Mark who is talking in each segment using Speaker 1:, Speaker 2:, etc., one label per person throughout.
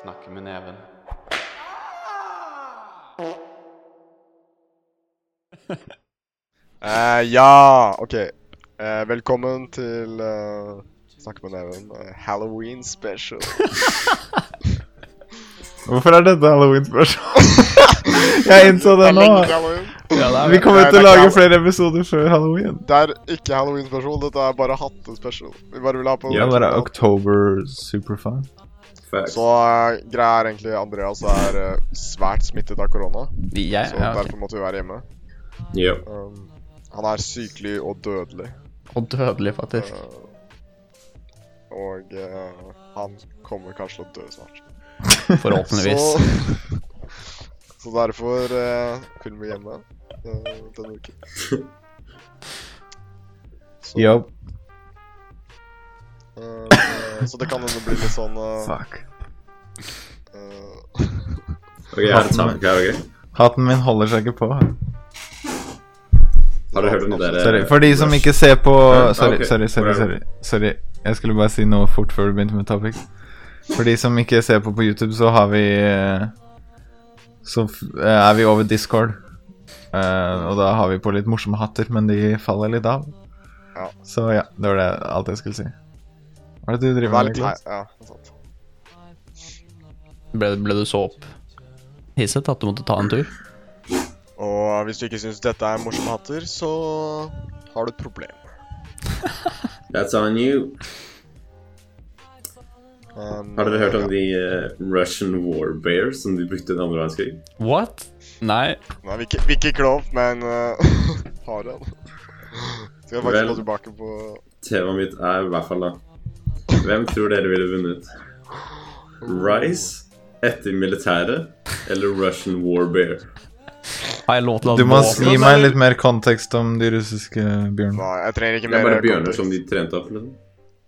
Speaker 1: Snakke med neven.
Speaker 2: Eh, ja, OK. Eh, velkommen til eh, Snakk med neven. eh, Halloween special.
Speaker 3: Hvorfor er dette halloween-spørsmål? Jeg innså det nå.
Speaker 2: lenge til Halloween.
Speaker 3: Vi kommer
Speaker 2: Nei, det
Speaker 3: til
Speaker 2: er
Speaker 3: å lage
Speaker 2: ikke
Speaker 3: flere episoder før halloween.
Speaker 2: Det er ikke halloween special, dette er bare hattespecial. Vi bare vil ha på
Speaker 3: Ja, bare October Superfun.
Speaker 2: Så eh, greia er egentlig Andreas er eh, svært smittet av korona,
Speaker 3: Jeg?
Speaker 2: så derfor måtte vi være hjemme.
Speaker 4: Ja.
Speaker 2: Um, han er sykelig og dødelig.
Speaker 3: Og dødelig,
Speaker 2: eh,
Speaker 3: faktisk.
Speaker 2: og eh, han kommer kanskje til å dø snart.
Speaker 5: Forhåpentligvis.
Speaker 2: Så, så derfor eh, kunne vi hjemme eh, denne uken. Så,
Speaker 3: Yo,
Speaker 2: eh, så det kan hende bli litt sånn eh,
Speaker 3: fuck.
Speaker 2: eh,
Speaker 4: Ok, jeg har et sak her, ok?
Speaker 3: Hatten min holder seg ikke på.
Speaker 4: Har du hørt om det der? eh,
Speaker 3: Sorry. For de som ikke ser på
Speaker 4: Ja,
Speaker 3: Sorry,
Speaker 4: ok.
Speaker 3: sorry, sorry. sorry,
Speaker 4: Whatever.
Speaker 3: sorry. Jeg skulle bare si noe fort før du begynte med topic. For de som ikke ser på på YouTube, så har vi eh, Så f- eh, er vi over Discord. Eh, og da har vi på litt morsomme hatter, men de faller litt av.
Speaker 2: Ja.
Speaker 3: Så ja, det var det alt jeg skulle si. Hva er det du driver
Speaker 2: Vær
Speaker 3: med?
Speaker 2: litt
Speaker 3: Niklas?
Speaker 2: lei- Ja, sant.
Speaker 5: Ble, ble du så opp hisset at du måtte ta en tur?
Speaker 2: Og eh, hvis du ikke syns dette er morsomme hatter, så har du et problem.
Speaker 4: That's on you.
Speaker 2: Um,
Speaker 4: Har dere hørt om de eh, Russian war bears som de brukte i den andre verdenskrig?
Speaker 5: What? Nei.
Speaker 2: Nei, vi ikke, vi ikke klov, men uh, har han. Skal jeg faktisk
Speaker 4: Vel.
Speaker 2: gå tilbake på
Speaker 4: Temaet mitt er i hvert fall da Hvem tror dere ville vunnet? Rice etter militæret eller Russian war bear?
Speaker 5: Har jeg lov til å
Speaker 3: Du må
Speaker 5: våpen?
Speaker 3: gi meg litt mer kontekst om de russiske bjørnene.
Speaker 2: Nei, jeg trenger ikke
Speaker 4: Det
Speaker 2: mer
Speaker 4: er bare
Speaker 2: kontekst.
Speaker 4: bjørner som de trente opp, liksom.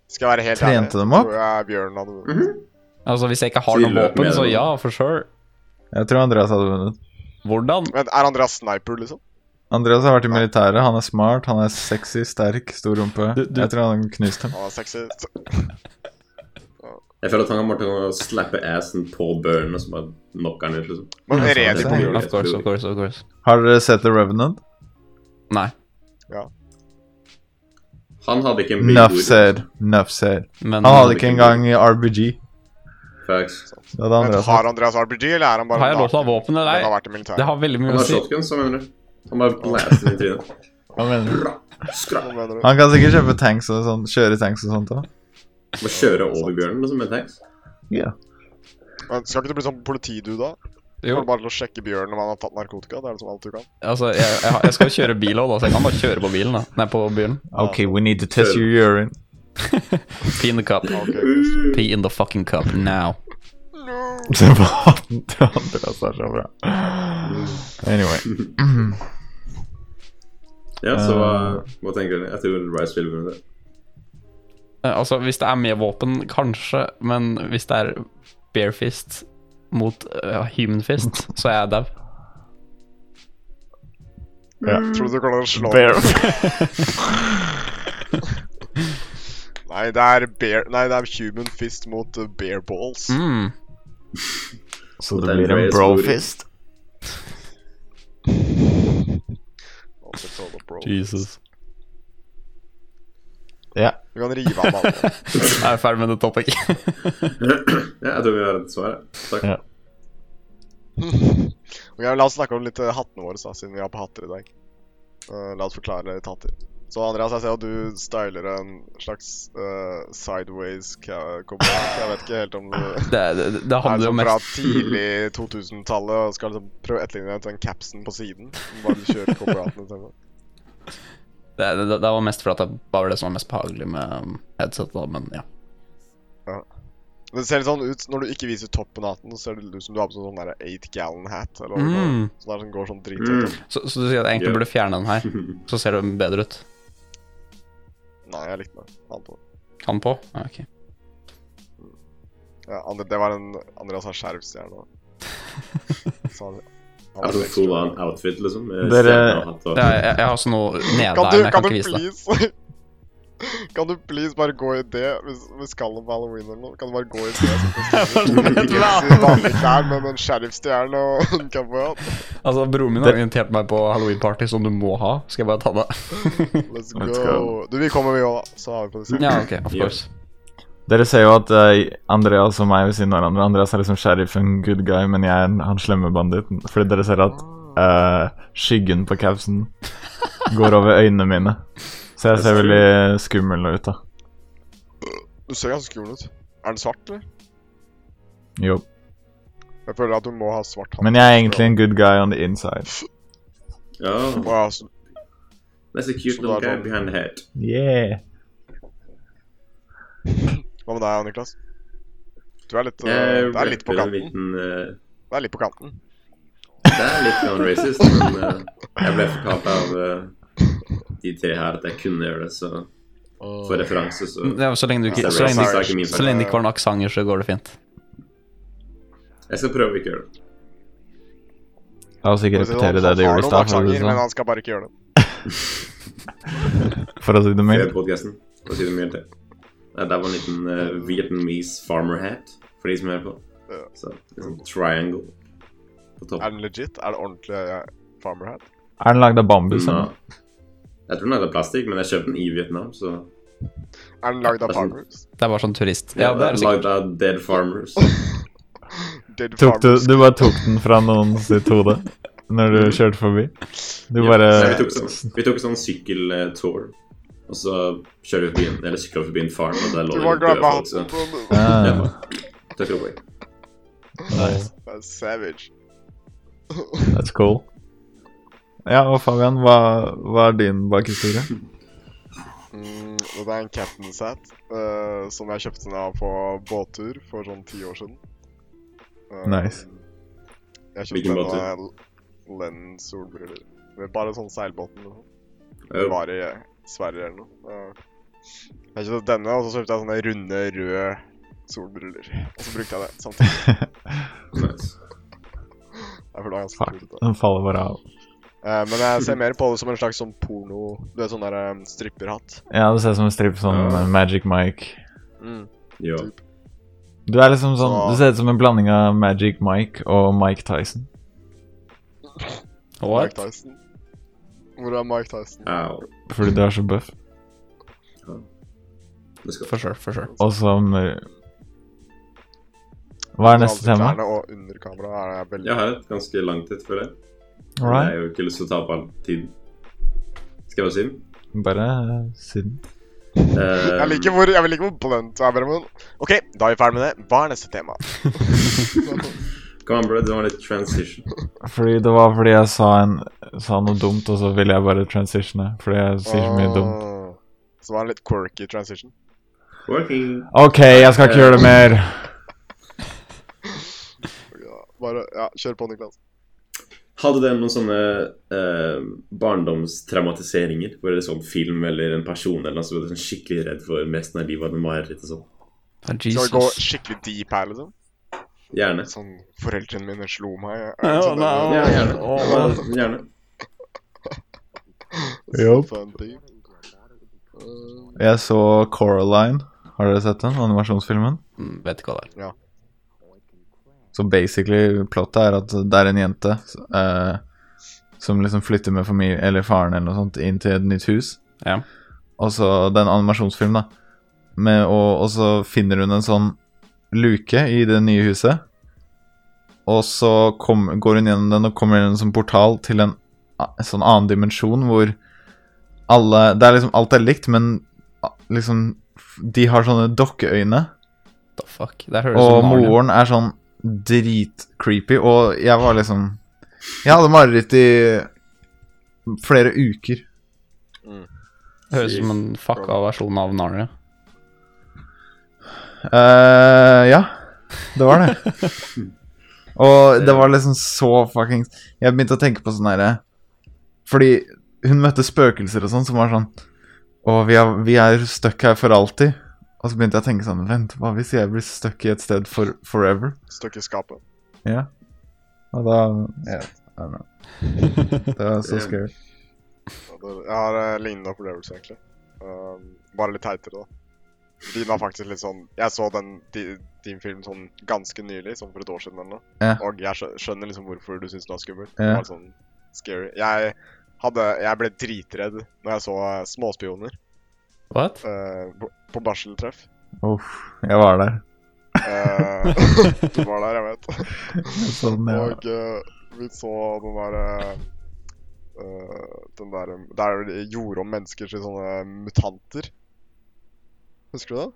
Speaker 2: Skal jeg være helt
Speaker 3: Trente
Speaker 2: ærlig,
Speaker 3: dem opp?
Speaker 2: tror jeg bjørnen hadde
Speaker 4: Mhm.
Speaker 2: vunnet.
Speaker 5: Altså, hvis jeg ikke
Speaker 4: Så
Speaker 5: har
Speaker 4: de
Speaker 5: noe
Speaker 4: løper
Speaker 5: våpen,
Speaker 4: med
Speaker 5: så
Speaker 4: det, da?
Speaker 5: ja, for sure.
Speaker 3: Jeg tror Andreas hadde vunnet.
Speaker 5: Hvordan?
Speaker 2: Men er Andreas sniper, liksom?
Speaker 3: Andreas har vært i militæret. Han er smart, han er sexy, sterk, stor rumpe.
Speaker 5: Du- du-
Speaker 3: Jeg tror han knuste ham.
Speaker 2: Han er sexy.
Speaker 4: Jeg føler at han kommer til å slappe assen på børen og så bare knocker han ut, liksom.
Speaker 2: Men
Speaker 3: Ja,
Speaker 2: red i
Speaker 3: sant,
Speaker 2: på
Speaker 3: det
Speaker 2: bjørn.
Speaker 3: er-
Speaker 5: Of course, of course, of course.
Speaker 3: Har dere sett The Revenant?
Speaker 5: Nei.
Speaker 4: Han hadde ikke en big
Speaker 3: Nuff
Speaker 4: booty.
Speaker 3: said. Nuff said.
Speaker 5: Men
Speaker 3: Han
Speaker 4: hadde
Speaker 3: hadde
Speaker 4: ikke
Speaker 3: ikke engang RBG.
Speaker 4: Facts.
Speaker 3: Det hadde
Speaker 2: Men
Speaker 3: Andreas hatt.
Speaker 2: har Andreas RBG, eller er han bare
Speaker 5: har jeg lov til å ha våpen
Speaker 2: Nei.
Speaker 5: eller
Speaker 2: Han har
Speaker 5: nei?
Speaker 2: vært i militæret.
Speaker 5: Det har veldig mye
Speaker 4: Han
Speaker 5: å
Speaker 4: har
Speaker 5: si.
Speaker 4: shotgun, så mener du? Han bare blaster den i trynet.
Speaker 3: Hva mener du?
Speaker 4: Skra!
Speaker 2: Hva mener du?
Speaker 3: Han kan sikkert kjøpe tanks og sånn, kjøre tanks og sånt òg.
Speaker 4: Må kjøre over bjørnen liksom, med tanks.
Speaker 2: Men skal ikke du bli sånn politidu, da?
Speaker 5: Jo,
Speaker 2: Får du bare til å sjekke bjørnen om han har tatt narkotika? Det er liksom alt du kan.
Speaker 5: altså, jeg, jeg, har- jeg skal jo kjøre bil òg, da, så jeg kan bare kjøre på bilen. da. Nei, på bilen.
Speaker 3: OK, we need to test your urine.
Speaker 5: Pee in the cup.
Speaker 2: Ok, greit.
Speaker 5: Pee in the fucking cup now.
Speaker 3: Det var Andreas er så bra. Mm. Anyway.
Speaker 4: Ja, så hva, hva tenker dere? Jeg tror Rice vil vinne det.
Speaker 5: Eh, Altså, hvis det er med våpen, kanskje, men hvis det er bare fist mot eh, human fist, så er jeg dau.
Speaker 2: Tror du du klarer å slå
Speaker 3: Bear.
Speaker 2: Nei, det er bear Nei, det er human fist mot uh, bear balls.
Speaker 5: Mm.
Speaker 3: Så
Speaker 4: det
Speaker 3: det
Speaker 4: blir
Speaker 3: blir
Speaker 4: en
Speaker 3: en
Speaker 4: bro
Speaker 3: brofist.
Speaker 2: Og så tar du bro.
Speaker 5: Jesus.
Speaker 3: Ja.
Speaker 2: Du kan rive av mannen.
Speaker 5: Jeg er ferdig med det topic.
Speaker 4: Ja, jeg tror vi har et svar. ja. Takk.
Speaker 3: Ja.
Speaker 2: Ok, La oss snakke om litt uh, hattene våre, da, siden vi har på hatter i dag. Uh, la oss forklare litt hatter. Så Andreas, jeg ser at du styler en slags uh, sideways ca- cowboy. Jeg vet ikke helt om du
Speaker 5: Det, det, det
Speaker 2: er
Speaker 5: handler jo
Speaker 2: liksom fra
Speaker 5: mest
Speaker 2: tidlig 2000-tallet og skal liksom prøve å etterligne den capsen på siden. Bare du kjører cowboyhatten istedenfor.
Speaker 5: det, det, det var mest fordi det bare var det som var mest behagelig med um, headset, da, men ja.
Speaker 2: Det ser litt sånn ut når du ikke viser toppen av hatten, så ser det ut som du har på sånn der 8 gallon hat. Eller hva det er.
Speaker 5: Mm.
Speaker 2: Sånn der som går sånn drithøyt.
Speaker 4: Mm.
Speaker 2: opp.
Speaker 5: Så, så du sier at jeg egentlig
Speaker 4: Ja.
Speaker 5: burde fjerne den her, så ser det bedre ut.
Speaker 2: Nei, jeg likte den. Han på.
Speaker 5: Han på? Ja, Ok.
Speaker 2: Ja, andre, det var en Andreas har skjervstjerne. Så han- han
Speaker 4: Altså
Speaker 2: var ekstra-
Speaker 4: full on outfit, liksom. Med
Speaker 3: Dere-
Speaker 4: stjerne og hatt og
Speaker 5: Det er, jeg, jeg har også noe nede
Speaker 2: Kan du,
Speaker 5: her, men jeg kan
Speaker 2: kan du
Speaker 5: ikke vise det.
Speaker 2: please Kan du please bare gå i det, hvis, hvis kallen på halloween eller noe, kan du bare gå i det? så kan du Ikke i vanlige klær, men en sheriffstjerne og en cowboyhatt.
Speaker 5: Altså, broren min har invitert meg på halloweenparty som du må ha. Skal jeg bare ta det?
Speaker 2: Let's
Speaker 3: Let's
Speaker 2: go. Du, vi kommer vi òg, da. Så har vi på det
Speaker 5: ja, ok, of
Speaker 4: Ja.
Speaker 5: course.
Speaker 3: Dere ser jo at eh, Andreas og meg ved siden av hverandre Andreas er liksom sheriffen, good guy, men jeg er den- han slemme banditten. Fordi dere ser at eh, skyggen på capsen går over øynene mine. Så jeg ser veldig skummel ut, da.
Speaker 2: Du ser ganske skummel ut. Er den svart, eller?
Speaker 3: Jo.
Speaker 2: Jeg føler at du må ha svart hatt.
Speaker 3: Men jeg er egentlig en good guy on the inside.
Speaker 4: Ja.
Speaker 2: Wow, så,
Speaker 4: That's a cute
Speaker 2: Så da er
Speaker 4: little guy
Speaker 2: det-
Speaker 4: behind the head.
Speaker 3: Yeah.
Speaker 2: Hva med deg, Niklas? Du er litt, eh,
Speaker 4: Jeg
Speaker 2: det er litt på
Speaker 4: rapper en
Speaker 2: kanten.
Speaker 4: liten eh,
Speaker 2: Det er litt på kanten.
Speaker 4: Det er litt grann racist, men eh, jeg ble fortalt av eh, de tre her at jeg kunne gjøre det, så for referanse, så
Speaker 5: Ja, så lenge du
Speaker 4: Ja,
Speaker 5: ikke
Speaker 4: det
Speaker 5: Så
Speaker 4: er
Speaker 5: lenge,
Speaker 4: racist,
Speaker 5: du-
Speaker 4: det er ikke min
Speaker 5: så
Speaker 4: feil.
Speaker 5: lenge det ikke var noen aksenter, så går det fint.
Speaker 4: Jeg skal prøve å ikke gjøre det.
Speaker 3: La oss ikke
Speaker 2: For å si sånn,
Speaker 3: repetere det
Speaker 2: han
Speaker 3: du
Speaker 2: har
Speaker 3: gjorde i
Speaker 2: noen
Speaker 3: stad, for å si
Speaker 2: aksenter,
Speaker 3: det
Speaker 2: Men
Speaker 3: sånn.
Speaker 2: han skal bare ikke gjøre det.
Speaker 3: For å si det
Speaker 4: Det er
Speaker 3: mildt.
Speaker 4: Eh, podcasten, og si det mye til. Nei, Der var en liten eh, Vietnamese farmer hat, for de som hører på.
Speaker 2: Ja.
Speaker 4: Så en sånn triangle på
Speaker 2: Er
Speaker 4: toppen.
Speaker 2: den legit? Er det ordentlig eh, farmer hat?
Speaker 3: Er den lagd av bambus?
Speaker 4: Den,
Speaker 3: eller?
Speaker 4: eh, Jeg tror den er av plastikk, men jeg kjøpte den i Vietnam, så
Speaker 2: Er den lagd av
Speaker 4: Det er sånn-
Speaker 2: farmers?
Speaker 5: Det er bare sånn turist. Ja, det er det sikkert.
Speaker 4: Lagd av dead farmers.
Speaker 2: Dead
Speaker 3: Tok du,
Speaker 2: farmers.
Speaker 3: du bare tok den fra noen sitt hode når du kjørte forbi? Du
Speaker 4: Ja,
Speaker 3: bare
Speaker 4: så vi, tok sånn, vi tok sånn sykkeltour, og så kjører vi forbi en, eller sykler forbi en farm, og der lå
Speaker 2: Du
Speaker 4: det
Speaker 2: må
Speaker 4: noen døde
Speaker 2: glemme
Speaker 4: folk, så
Speaker 2: hatten din.
Speaker 3: ah,
Speaker 4: tok det opp.
Speaker 3: nice.
Speaker 2: Det er savage.
Speaker 3: That's cool. Ja, og Fabian, hva, hva er din bakhistorie?
Speaker 2: Mm, dette er en captain's hat eh, som jeg kjøpte da jeg var på båttur for sånn ti år siden. Eh,
Speaker 3: Nice.
Speaker 2: Jeg
Speaker 4: Hvilken
Speaker 2: kjøpte en av Lennon solbriller. Med Bare sånn seilbåten. og sånn. Det
Speaker 4: Ja.
Speaker 2: var i eh, Sverige eller noe. Eh, Jeg kjøpte denne, og så kjøpte jeg sånne runde, røde solbriller. Og så brukte jeg det samtidig.
Speaker 4: Nice.
Speaker 2: Jeg føler det var ganske
Speaker 3: Fuck,
Speaker 2: kult. da.
Speaker 3: den faller bare av.
Speaker 2: Eh, men jeg ser mer på det som en slags sånn porno Du vet sånn der eh, stripperhatt.
Speaker 3: Ja, det ser ut som en stripp sånn
Speaker 4: Ja.
Speaker 3: eh, Magic Mike.
Speaker 4: Ja.
Speaker 3: Du er liksom sånn,
Speaker 2: Så-
Speaker 3: du ser ut som en blanding av Magic Mike og Mike Tyson.
Speaker 2: Mike
Speaker 5: What?
Speaker 2: Tyson. Hvor er Mike Tyson?
Speaker 4: Au.
Speaker 3: Fordi du er så bøff.
Speaker 4: Det skal
Speaker 5: For sure, for sure.
Speaker 3: Og som eh, Hva er neste
Speaker 2: Under
Speaker 3: tema?
Speaker 2: klærne Og under kamera er jeg veldig
Speaker 4: Jeg har et ganske langt et, føler jeg.
Speaker 3: All
Speaker 4: Jeg
Speaker 3: right.
Speaker 4: har jo ikke lyst til å tape all tiden. Skal jeg bare si den?
Speaker 3: Bare eh, siden.
Speaker 4: Eh,
Speaker 2: Jeg liker hvor, jeg vil like hvor blunt du er, Bremon. OK, da er vi ferdig med det. Hva er neste tema?
Speaker 4: Come on, bro. Det var litt transition.
Speaker 3: Fordi det var fordi jeg sa, en, sa noe dumt, og så ville jeg bare transitione. Fordi jeg sier så mye dumt.
Speaker 2: Åh. Så var det en litt quirky transition.
Speaker 4: Working.
Speaker 3: OK, jeg skal ikke gjøre det mer.
Speaker 2: Ja, bare, ja, kjør på, Niklas.
Speaker 4: Hadde dere noen sånne eh, barndomstraumatiseringer? Hvor det er sånn film eller en person eller noe som ble sånn skikkelig redd for resten av livet? Hadde mareritt og sånn.
Speaker 5: Ah,
Speaker 2: Skal vi gå
Speaker 5: Jesus.
Speaker 2: skikkelig deep her, liksom?
Speaker 4: Gjerne.
Speaker 2: Sånn Foreldrene mine slo meg. jeg-
Speaker 5: Ja,
Speaker 2: sånn,
Speaker 5: nei,
Speaker 4: Ja,
Speaker 2: det-
Speaker 4: gjerne.
Speaker 5: Åh.
Speaker 4: Bare, gjerne.
Speaker 3: Jo.
Speaker 2: Fun thing. Eh,
Speaker 3: Jeg så Coraline. Har dere sett den? Animasjonsfilmen?
Speaker 5: Mm, Vet ikke hva det er.
Speaker 3: Så basically plottet er at det er en jente eh, som liksom flytter med familie, eller faren eller noe sånt inn til et nytt hus.
Speaker 5: Ja.
Speaker 3: Og så det er en animasjonsfilm, da. Med, og, og så finner hun en sånn luke i det nye huset. Og så kom, går hun gjennom den og kommer inn i en sånn portal til en a- sånn annen dimensjon hvor alle Det er liksom alt er likt, men a- liksom f- De har sånne dokkeøyne.
Speaker 5: The fuck. Det høres ut
Speaker 3: Og
Speaker 5: som Narnia.
Speaker 3: moren er sånn dritcreepy, og jeg var liksom Jeg hadde mareritt i flere uker.
Speaker 5: Det Høres ut som en fucka versjon av Narnia.
Speaker 3: eh ja, det var det. og det var liksom så fuckings Jeg begynte å tenke på sånn herre Fordi hun møtte spøkelser og sånn som var sånn Å, vi er, vi er stuck her for alltid. Og så begynte jeg å tenke sånn Vent, hva hvis jeg blir stuck i et sted for forever?
Speaker 2: Støkk i skapet.
Speaker 3: Og da ja, I don't know. Det var så
Speaker 4: Ja.
Speaker 3: scary.
Speaker 2: Ja, det- Jeg har eh, lignende opplevelse, egentlig. Um, bare litt teitere, da. De var faktisk litt sånn Jeg så den di- din film sånn ganske nylig, sånn for et år siden eller noe.
Speaker 3: Ja.
Speaker 2: Og jeg skjø- skjønner liksom hvorfor du syns den var skummel. Det
Speaker 3: Ja.
Speaker 2: var sånn scary. Jeg, hadde, jeg ble dritredd når jeg så eh, Småspioner
Speaker 5: What?
Speaker 2: eh, på- på barseltreff.
Speaker 3: Uff, jeg var der.
Speaker 2: Eh, du var der, jeg vet.
Speaker 3: Sånn, ja.
Speaker 2: Og eh, vi så den derre eh, Den derre Der de gjorde om mennesker til sånne mutanter. Husker du det?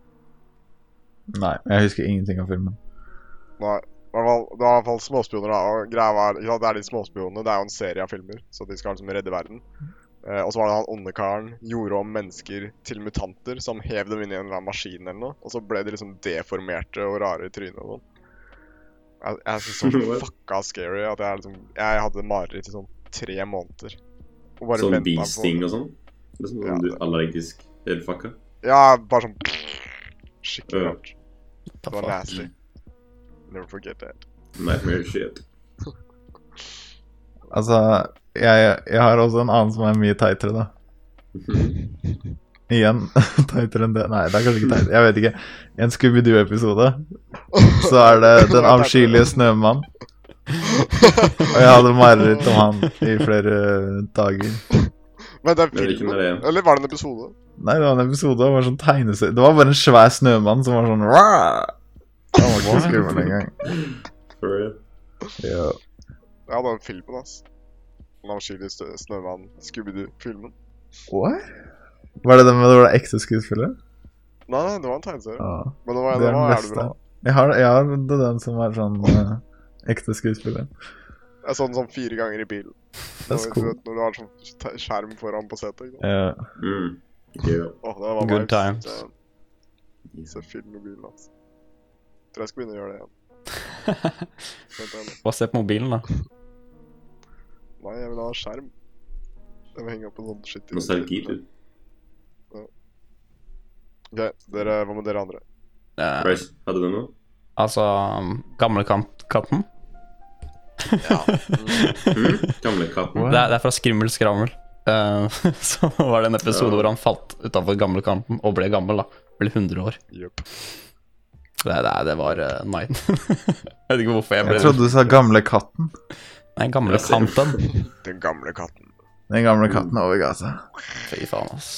Speaker 3: Nei, jeg husker ingenting av filmen.
Speaker 2: Nei. i hvert fall- Det var i hvert fall småspioner, da. Og greia var, ja, det er de småspionene. Det er jo en serie av filmer, så de skal liksom redde verden. Eh, og så var det han onde karen gjorde om mennesker til mutanter, som hev dem inn i en eller annen maskin eller noe. Og så ble de liksom deformerte og rare i trynet og sånn. Jeg, jeg synes det var så fucka scary at jeg liksom Jeg hadde mareritt i sånn tre måneder. Og bare
Speaker 4: Sånn
Speaker 2: ventet på-
Speaker 4: beasting og sånn? Liksom
Speaker 2: Ja.
Speaker 4: om du er allergisk eller fucka?
Speaker 2: Ja, bare sånn Skikkelig
Speaker 4: Ja.
Speaker 2: rart.
Speaker 5: The
Speaker 2: Det var
Speaker 5: fuck?
Speaker 2: nasty. Never forget that.
Speaker 4: Nightmare shit.
Speaker 3: Altså, jeg, jeg har også en annen som er mye teitere, da. Igjen teitere enn det Nei, det er kanskje ikke teit. Jeg vet ikke. I en Scooby-Doo-episode så er det Den avskyelige snømann. Og jeg hadde mareritt om han i flere eh, dager.
Speaker 2: Men den
Speaker 4: Men hvilken
Speaker 2: filmen,
Speaker 4: er det igjen?
Speaker 2: eller var det en episode?
Speaker 3: Nei, det var en episode. Det var sånn tegneserie Det var bare en svær snømann som var sånn «Rah!» Han var ikke skummel engang.
Speaker 4: For real.
Speaker 3: Ja.
Speaker 2: Ja, den filmen, ass. Den avskyelige stø- snømannen, Scooby-Doo-filmen.
Speaker 3: What? Var det den med det var det ekte skuespillere?
Speaker 2: Nei, nei, det var en tegneserie.
Speaker 3: Ja.
Speaker 2: Men det var,
Speaker 3: Det er den
Speaker 2: var jævlig
Speaker 3: beste.
Speaker 2: bra.
Speaker 3: Jeg har, jeg har det er den som er sånn eh, ekte skuespiller.
Speaker 2: Jeg så den sånn fire ganger i bilen. Når-
Speaker 3: That's
Speaker 2: du
Speaker 3: cool.
Speaker 2: vet, Når du har sånn te- skjerm foran på setet. ikke sant?
Speaker 3: Ja.
Speaker 4: Mm. Yeah.
Speaker 2: Åh, det var
Speaker 5: Good
Speaker 2: vibes.
Speaker 5: times.
Speaker 2: Det- Se film i bilen, ass. Tror jeg skal begynne å gjøre det igjen. Vent, jeg-
Speaker 5: Bare se på mobilen, da.
Speaker 2: Nei, jeg vil ha skjerm. Jeg vil henge opp en sånn shit. i-
Speaker 4: Nostalgi, du.
Speaker 2: Ok, dere, hva med dere andre?
Speaker 5: Eh,
Speaker 4: Rice, hadde du noe?
Speaker 5: altså Gamlekatten.
Speaker 4: Mm? Gamle katten.
Speaker 5: Det, er- det er fra Skrimmel skrammel. Eh, så var det en episode hvor han falt utafor gamlekampen og ble gammel. da Ble 100 år.
Speaker 2: Jupp.
Speaker 5: Det, det, det var uh, night. jeg vet ikke hvorfor jeg ble
Speaker 3: Jeg trodde du sa gamle katten.
Speaker 5: Nei, Gamlekampen.
Speaker 2: Den gamle katten.
Speaker 3: Den gamle katten over gata.
Speaker 5: Fy faen, ass.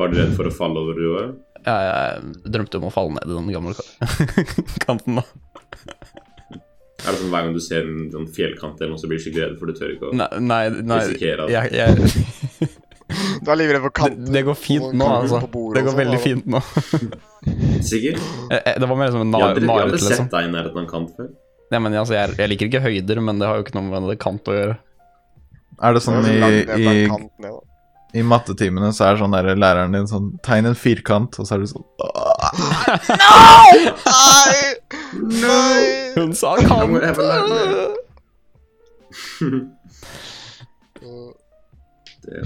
Speaker 4: Var du redd for å falle over du òg?
Speaker 5: Jeg, jeg drømte om å falle ned i den gamle ka- kanten, da.
Speaker 4: Er det sånn hver gang du ser en sånn fjellkant eller noe, så blir du skikkelig redd, for du tør ikke å
Speaker 5: Nei, nei, nei
Speaker 4: Risikere at-
Speaker 5: jeg, jeg,
Speaker 2: Du er livredd for
Speaker 5: det,
Speaker 2: kanter.
Speaker 5: det går fint nå, altså. Det
Speaker 2: sånn.
Speaker 5: går veldig fint nå.
Speaker 4: Sikker?
Speaker 5: Eh, eh, Det var mer som en
Speaker 4: Jeg
Speaker 5: na-
Speaker 4: hadde, jeg hadde
Speaker 5: narete, liksom.
Speaker 4: sett deg i nærheten av en kant før.
Speaker 5: Nei, men altså, jeg, jeg liker ikke høyder, men det har jo ikke noe med det kant å gjøre.
Speaker 3: Er det sånn i, i,
Speaker 2: ned, da.
Speaker 3: i mattetimene så er det sånn der læreren din sånn Tegn en firkant, og så er du sånn
Speaker 2: Nei! Nei!
Speaker 5: Hun sa
Speaker 4: Jeg må- jeg må lære
Speaker 5: kant!
Speaker 4: Det.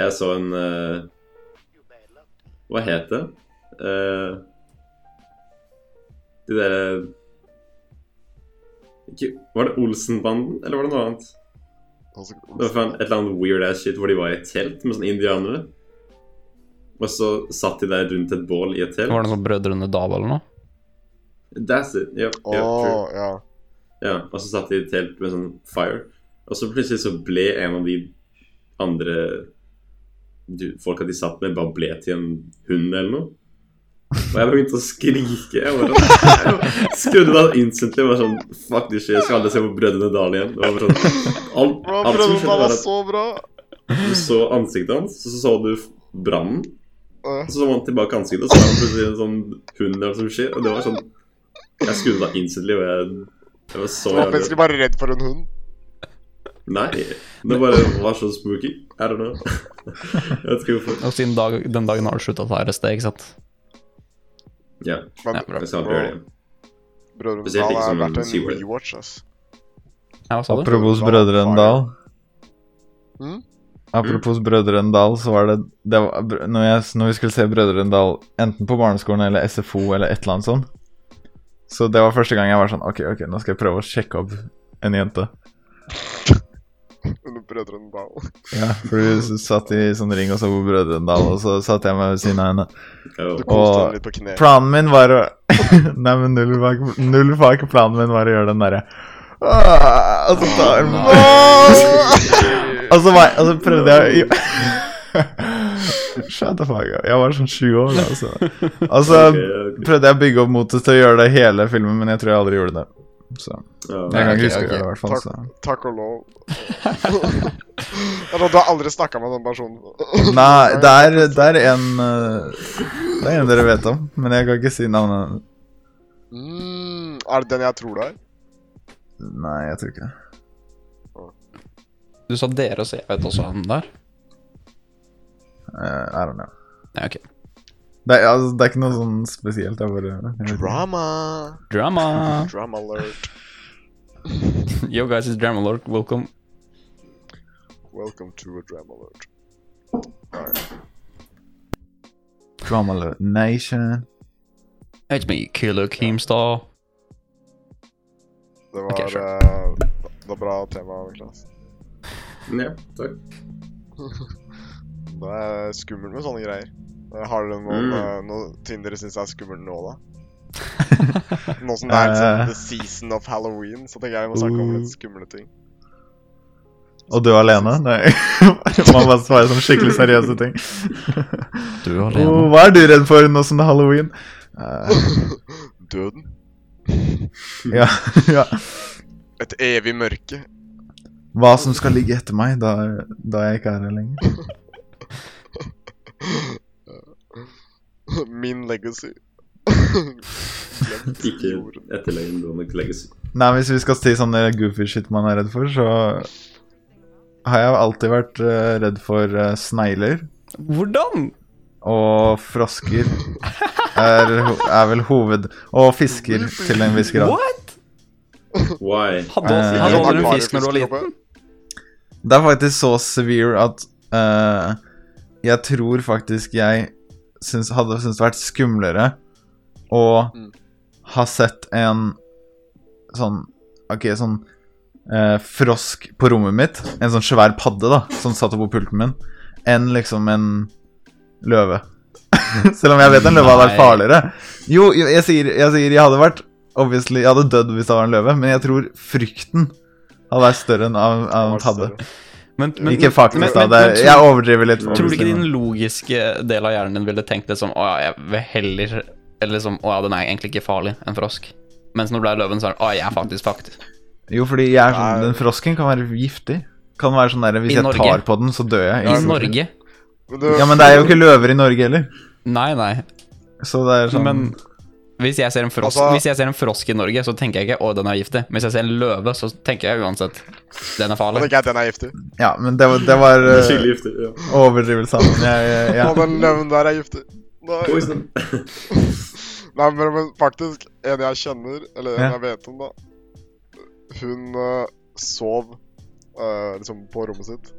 Speaker 4: Jeg så en eh, Hva het det? Eh, de derre ikke, Var det Olsenbanden, eller var det noe annet?
Speaker 2: altså
Speaker 4: Det var faen et eller annet weird ass shit hvor de var i et telt med sånne indianere. Og så satt de der rundt et bål i et telt.
Speaker 5: Var det sånn Brødrene Dal eller noe?
Speaker 4: That's it. Yep, yep, true.
Speaker 2: Åh, ja.
Speaker 4: Ja, og så satt de i et telt med sånn fire. Og så plutselig så ble en av de andre du, folka de satt med, bare ble til en hund eller noe. Og jeg begynte å skrike. Jeg bare, sånn, skrudde da instantly og var sånn Fuck this shit, jeg skal aldri se på Brødrene Dal igjen. Det var bare sånn, alt,
Speaker 2: Bro,
Speaker 4: alt som
Speaker 2: Brødrene altså?
Speaker 4: skjedde,
Speaker 2: var
Speaker 4: var at
Speaker 2: så bra!
Speaker 4: du så ansiktet hans, og så så du brannen.
Speaker 2: Eh,
Speaker 4: Og så så man tilbake ansiktet, og så var han plutselig en sånn hund eller noe som skjer. Og det var sånn Jeg skrudde da instantly, og jeg, jeg var så
Speaker 2: Du var plutselig bare redd for en hund.
Speaker 4: Nei, det bare var så spooky. I don't know. Jeg vet ikke hvorfor.
Speaker 5: Og siden dag, den dagen har du slutta å ta RSD, ikke sant?
Speaker 4: Ja,
Speaker 2: Men
Speaker 5: Ja, bra.
Speaker 4: jeg skal aldri gjøre det igjen.
Speaker 2: Brødrene
Speaker 4: Spesielt
Speaker 2: Dal
Speaker 4: ikke
Speaker 2: er
Speaker 4: som
Speaker 2: verdt en
Speaker 4: Seaward.
Speaker 2: rewatch, ass.
Speaker 5: Ja, hva sa du?
Speaker 3: Apropos Brødrene Dal.
Speaker 2: Mm?
Speaker 3: Apropos Brødrene Dal, så var det, det var, br- når, jeg, når vi skulle se Brødrene Dal enten på barneskolen eller SFO eller et eller annet sånn Så det var første gang jeg var sånn Ok, ok, nå skal jeg prøve å sjekke opp en jente.
Speaker 2: Under Brødrene Dal.
Speaker 3: Ja, for du s- satt i sånn ring og så på Brødrendal, og så satt jeg meg ved siden av henne.
Speaker 4: Ja,
Speaker 2: Du
Speaker 4: jo.
Speaker 2: koste
Speaker 3: Og-
Speaker 2: deg litt på kne.
Speaker 3: Planen min var å Nei, men null var, ikke, null var ikke planen min var å gjøre den derre «Åh», Og så tar den «Åh!» Og så var jeg Og så prøvde jeg å Shut the fuck up. Jeg var sånn sju år, altså. Og så
Speaker 4: Ok, ok.
Speaker 3: prøvde jeg å bygge opp motet til å gjøre det hele filmen, men jeg tror jeg aldri gjorde det. Så
Speaker 4: Ja.
Speaker 3: Jeg kan
Speaker 5: ok,
Speaker 3: ikke huske
Speaker 5: ok.
Speaker 3: det, i hvert fall. Så.
Speaker 2: Takk og lov. Altså, du har aldri snakka med den personen?
Speaker 3: Nei, det er, det er en eh, Det er en dere vet om, men jeg kan ikke si navnet.
Speaker 2: Mm, er det den jeg tror det er?
Speaker 3: Nei, jeg tror ikke det.
Speaker 5: Du sa dere, så jeg vet også han der.
Speaker 3: Eh, I don't know.
Speaker 5: Nei, ok.
Speaker 3: Det er, altså, det er ikke noe sånn spesielt. Jeg bare jeg vet ikke.
Speaker 2: Drama.
Speaker 5: Drama.
Speaker 2: Drama alert.
Speaker 5: Yo guys, it's Drama Lord. Welcome.
Speaker 2: Welcome to a drama alert.
Speaker 3: Drama Alert Nation.
Speaker 5: It's me, Killer Keemstar.
Speaker 2: Det var
Speaker 5: Ok, sure.
Speaker 2: eh, det var bra tema, Niklas.
Speaker 4: ja, takk.
Speaker 2: Det er skummelt med sånne greier. Eh, Har dere noen,
Speaker 4: Mm.
Speaker 2: eh, noe ting dere syns er skummelt nå, da? Nå som det er liksom,
Speaker 3: Eh.
Speaker 2: the season of halloween, så tenker jeg vi må snakke om litt skumle ting.
Speaker 3: Og du alene? Nei. Man bare svarer sånn skikkelig seriøse ting.
Speaker 5: Du
Speaker 3: Oh, hva er du redd for nå som det er halloween? Eh,
Speaker 2: Døden.
Speaker 3: ja, ja.
Speaker 2: Et evig mørke.
Speaker 3: Hva som skal ligge etter meg da, da jeg ikke er her lenger.
Speaker 2: Min legacy. Glemt
Speaker 4: Ikke
Speaker 2: jorden.
Speaker 4: etterlengdende legacy.
Speaker 3: Nei, Hvis vi skal si sånn eh, goofy shit man er redd for, så har jeg alltid vært eh, redd for eh, snegler.
Speaker 5: Hvordan?
Speaker 3: Og frosker er, ho- er vel hoved... Og fisker, til en viss grad.
Speaker 5: What?
Speaker 4: Why?
Speaker 5: Hadde
Speaker 3: Eh,
Speaker 5: hadde
Speaker 2: Har
Speaker 5: du
Speaker 2: bare
Speaker 5: en fisk når du var
Speaker 2: fiskekroppe.
Speaker 5: liten?
Speaker 3: Det er faktisk så severe at eh, jeg tror faktisk jeg syns, hadde syntes det vært skumlere å
Speaker 2: Mm.
Speaker 3: ha sett en sånn Ok, sånn eh, frosk på rommet mitt. En sånn svær padde da, som satt oppå pulten min, enn liksom en løve. Selv om jeg vet en løve hadde vært
Speaker 5: Nei.
Speaker 3: farligere. Jo, jo, jeg sier, jeg sier jeg hadde vært Obviously, jeg hadde dødd hvis det var en løve, men jeg tror frykten hadde vært større enn av, av en
Speaker 2: Var
Speaker 3: tabbe.
Speaker 2: større.
Speaker 5: Men, men,
Speaker 3: ikke faktisk,
Speaker 5: men-
Speaker 3: da.
Speaker 5: men-
Speaker 3: Det er,
Speaker 5: men tror-
Speaker 3: jeg overdriver litt.
Speaker 5: Tror du ikke
Speaker 3: obviously,
Speaker 5: din
Speaker 3: men-
Speaker 5: logiske del av hjernen din ville tenkt litt sånn Å ja, jeg vil heller Eller liksom Å ja, den er egentlig ikke farlig, en frosk. Mens når du er løven, så er det Å, jeg er faktisk faktisk.
Speaker 3: Jo, fordi jeg er sånn,
Speaker 2: Nei.
Speaker 3: den frosken kan være giftig. Kan være sånn der, Hvis
Speaker 5: I
Speaker 3: jeg
Speaker 5: Norge.
Speaker 3: tar på den, så dør jeg.
Speaker 5: I Norge?
Speaker 2: Men
Speaker 3: Ja, Men det er jo ikke løver i Norge heller.
Speaker 5: Nei, nei.
Speaker 3: Så det er sånn
Speaker 5: Men hvis jeg ser en frosk,
Speaker 2: Altså-
Speaker 5: hvis jeg ser en frosk i Norge, så tenker jeg ikke 'Å, den er giftig'. Men Hvis jeg ser en løve, så tenker jeg uansett 'Den er
Speaker 2: Da
Speaker 5: farlig'.
Speaker 2: tenker jeg at den er giftig.
Speaker 3: Ja, men det var, det var
Speaker 4: Det er
Speaker 3: eh,
Speaker 4: Skikkelig giftig. Ja.
Speaker 3: overdrivelse av den. Jeg, jeg,
Speaker 2: Og
Speaker 3: jeg.
Speaker 2: den løven der er giftig. Nei,
Speaker 4: Poison.
Speaker 2: Nei men, men faktisk, en jeg kjenner, eller en
Speaker 3: Ja.
Speaker 2: jeg vet om, da Hun eh, sov eh, liksom på rommet sitt,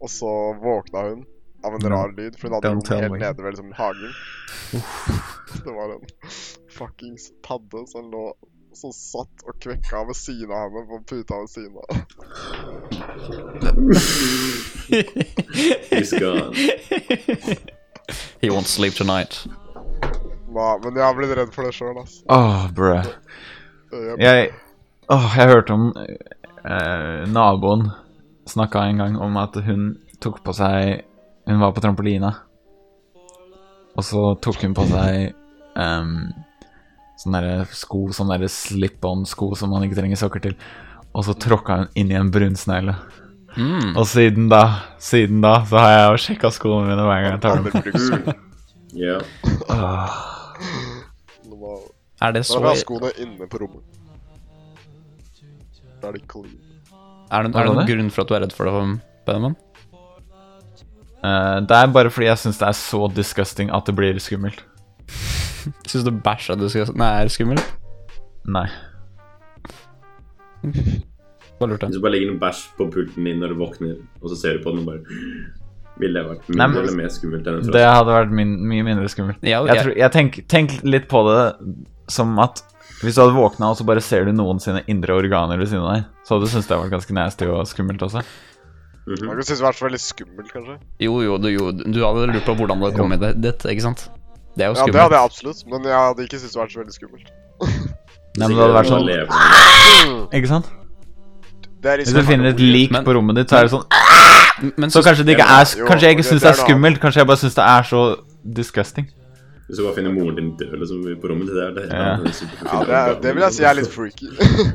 Speaker 2: og så våkna hun av en
Speaker 3: No.
Speaker 2: rar lyd, for hun hadde
Speaker 3: Mm.
Speaker 2: rom
Speaker 3: Don't tell
Speaker 2: helt
Speaker 3: me.
Speaker 2: nede ved liksom hagen. Det var en fuckings padde som lå som satt og kvekka ved siden av henne på puta ved siden av.
Speaker 4: He's gone.
Speaker 5: He won't sleep tonight.
Speaker 2: Nei, men jeg har blitt redd for det sjøl, ass.
Speaker 3: Åh, Ah, bruh.
Speaker 2: Jeg-
Speaker 3: Jeg, åh, jeg hørte om eh, Naboen snakka en gang om at hun tok på seg Hun var på trampolina, og så tok hun på seg um, sånne derre sko, sånne derre slip-on-sko som man ikke trenger sokker til, og så tråkka hun inn i en brunsnegle.
Speaker 5: Mm.
Speaker 3: Og siden da, siden da, så har jeg jo sjekka skoene mine hver gang jeg tar dem.
Speaker 2: Aldri brukt sko.
Speaker 4: Mm. Ja.
Speaker 3: Åh,
Speaker 2: Det var-
Speaker 5: Er det
Speaker 2: Da
Speaker 5: så
Speaker 2: vil jeg ha
Speaker 5: Er
Speaker 2: skoene inne på rommet. Da er de clean.
Speaker 5: det, er det
Speaker 3: Hva var
Speaker 5: noen
Speaker 3: det?
Speaker 5: grunn for at du er redd for det, Benjamin?
Speaker 3: eh, det er bare fordi jeg syns det er så disgusting at det blir skummelt.
Speaker 5: Syns du bæsj er disgust- Nei, er skummel?
Speaker 3: Nei.
Speaker 5: Bare lurte.
Speaker 4: Hvis du bare legger noe bæsj på pulten din når du våkner, og så ser du på den og bare Ville det vært
Speaker 3: Nei,
Speaker 4: mindre
Speaker 3: men-
Speaker 4: eller mer skummelt enn en
Speaker 3: Det
Speaker 4: frosk?
Speaker 3: hadde vært min, mye mindre skummelt.
Speaker 5: Ja,
Speaker 3: Jeg,
Speaker 5: jeg-
Speaker 3: tror, jeg tenk, tenk litt på det som at hvis du hadde våkna og så bare ser du noen sine indre organer ved siden av deg, så hadde du syntes det var ganske nasty og skummelt også.
Speaker 4: Mhm.
Speaker 2: Man kan synes det har vært så veldig skummelt, kanskje.
Speaker 5: Jo, jo, du, jo, du hadde lurt på hvordan det kom i det, ditt, ikke sant? Det er jo
Speaker 2: Ja, det
Speaker 5: skummelt.
Speaker 2: hadde jeg absolutt, men jeg hadde ikke syntes det hadde vært så veldig skummelt.
Speaker 3: Nei, men det hadde vært sånn
Speaker 4: Sikkert levende.
Speaker 3: Ikke sant?
Speaker 2: Det er
Speaker 3: Hvis du finner et lik
Speaker 5: Men-
Speaker 3: på rommet ditt, så er det sånn
Speaker 5: Men
Speaker 3: Så
Speaker 5: så,
Speaker 3: kanskje det ikke er
Speaker 2: Jo,
Speaker 3: Kanskje jeg ikke
Speaker 2: det- det
Speaker 3: syns det
Speaker 2: er
Speaker 3: er
Speaker 2: noe
Speaker 3: skummelt, kanskje jeg bare syns det er så disgusting.
Speaker 4: Hvis du bare finner moren din død liksom, på rommet ditt der, det er
Speaker 3: Ja.
Speaker 4: det er superfint.
Speaker 2: Ja, det, er, det vil jeg si er litt freaky. det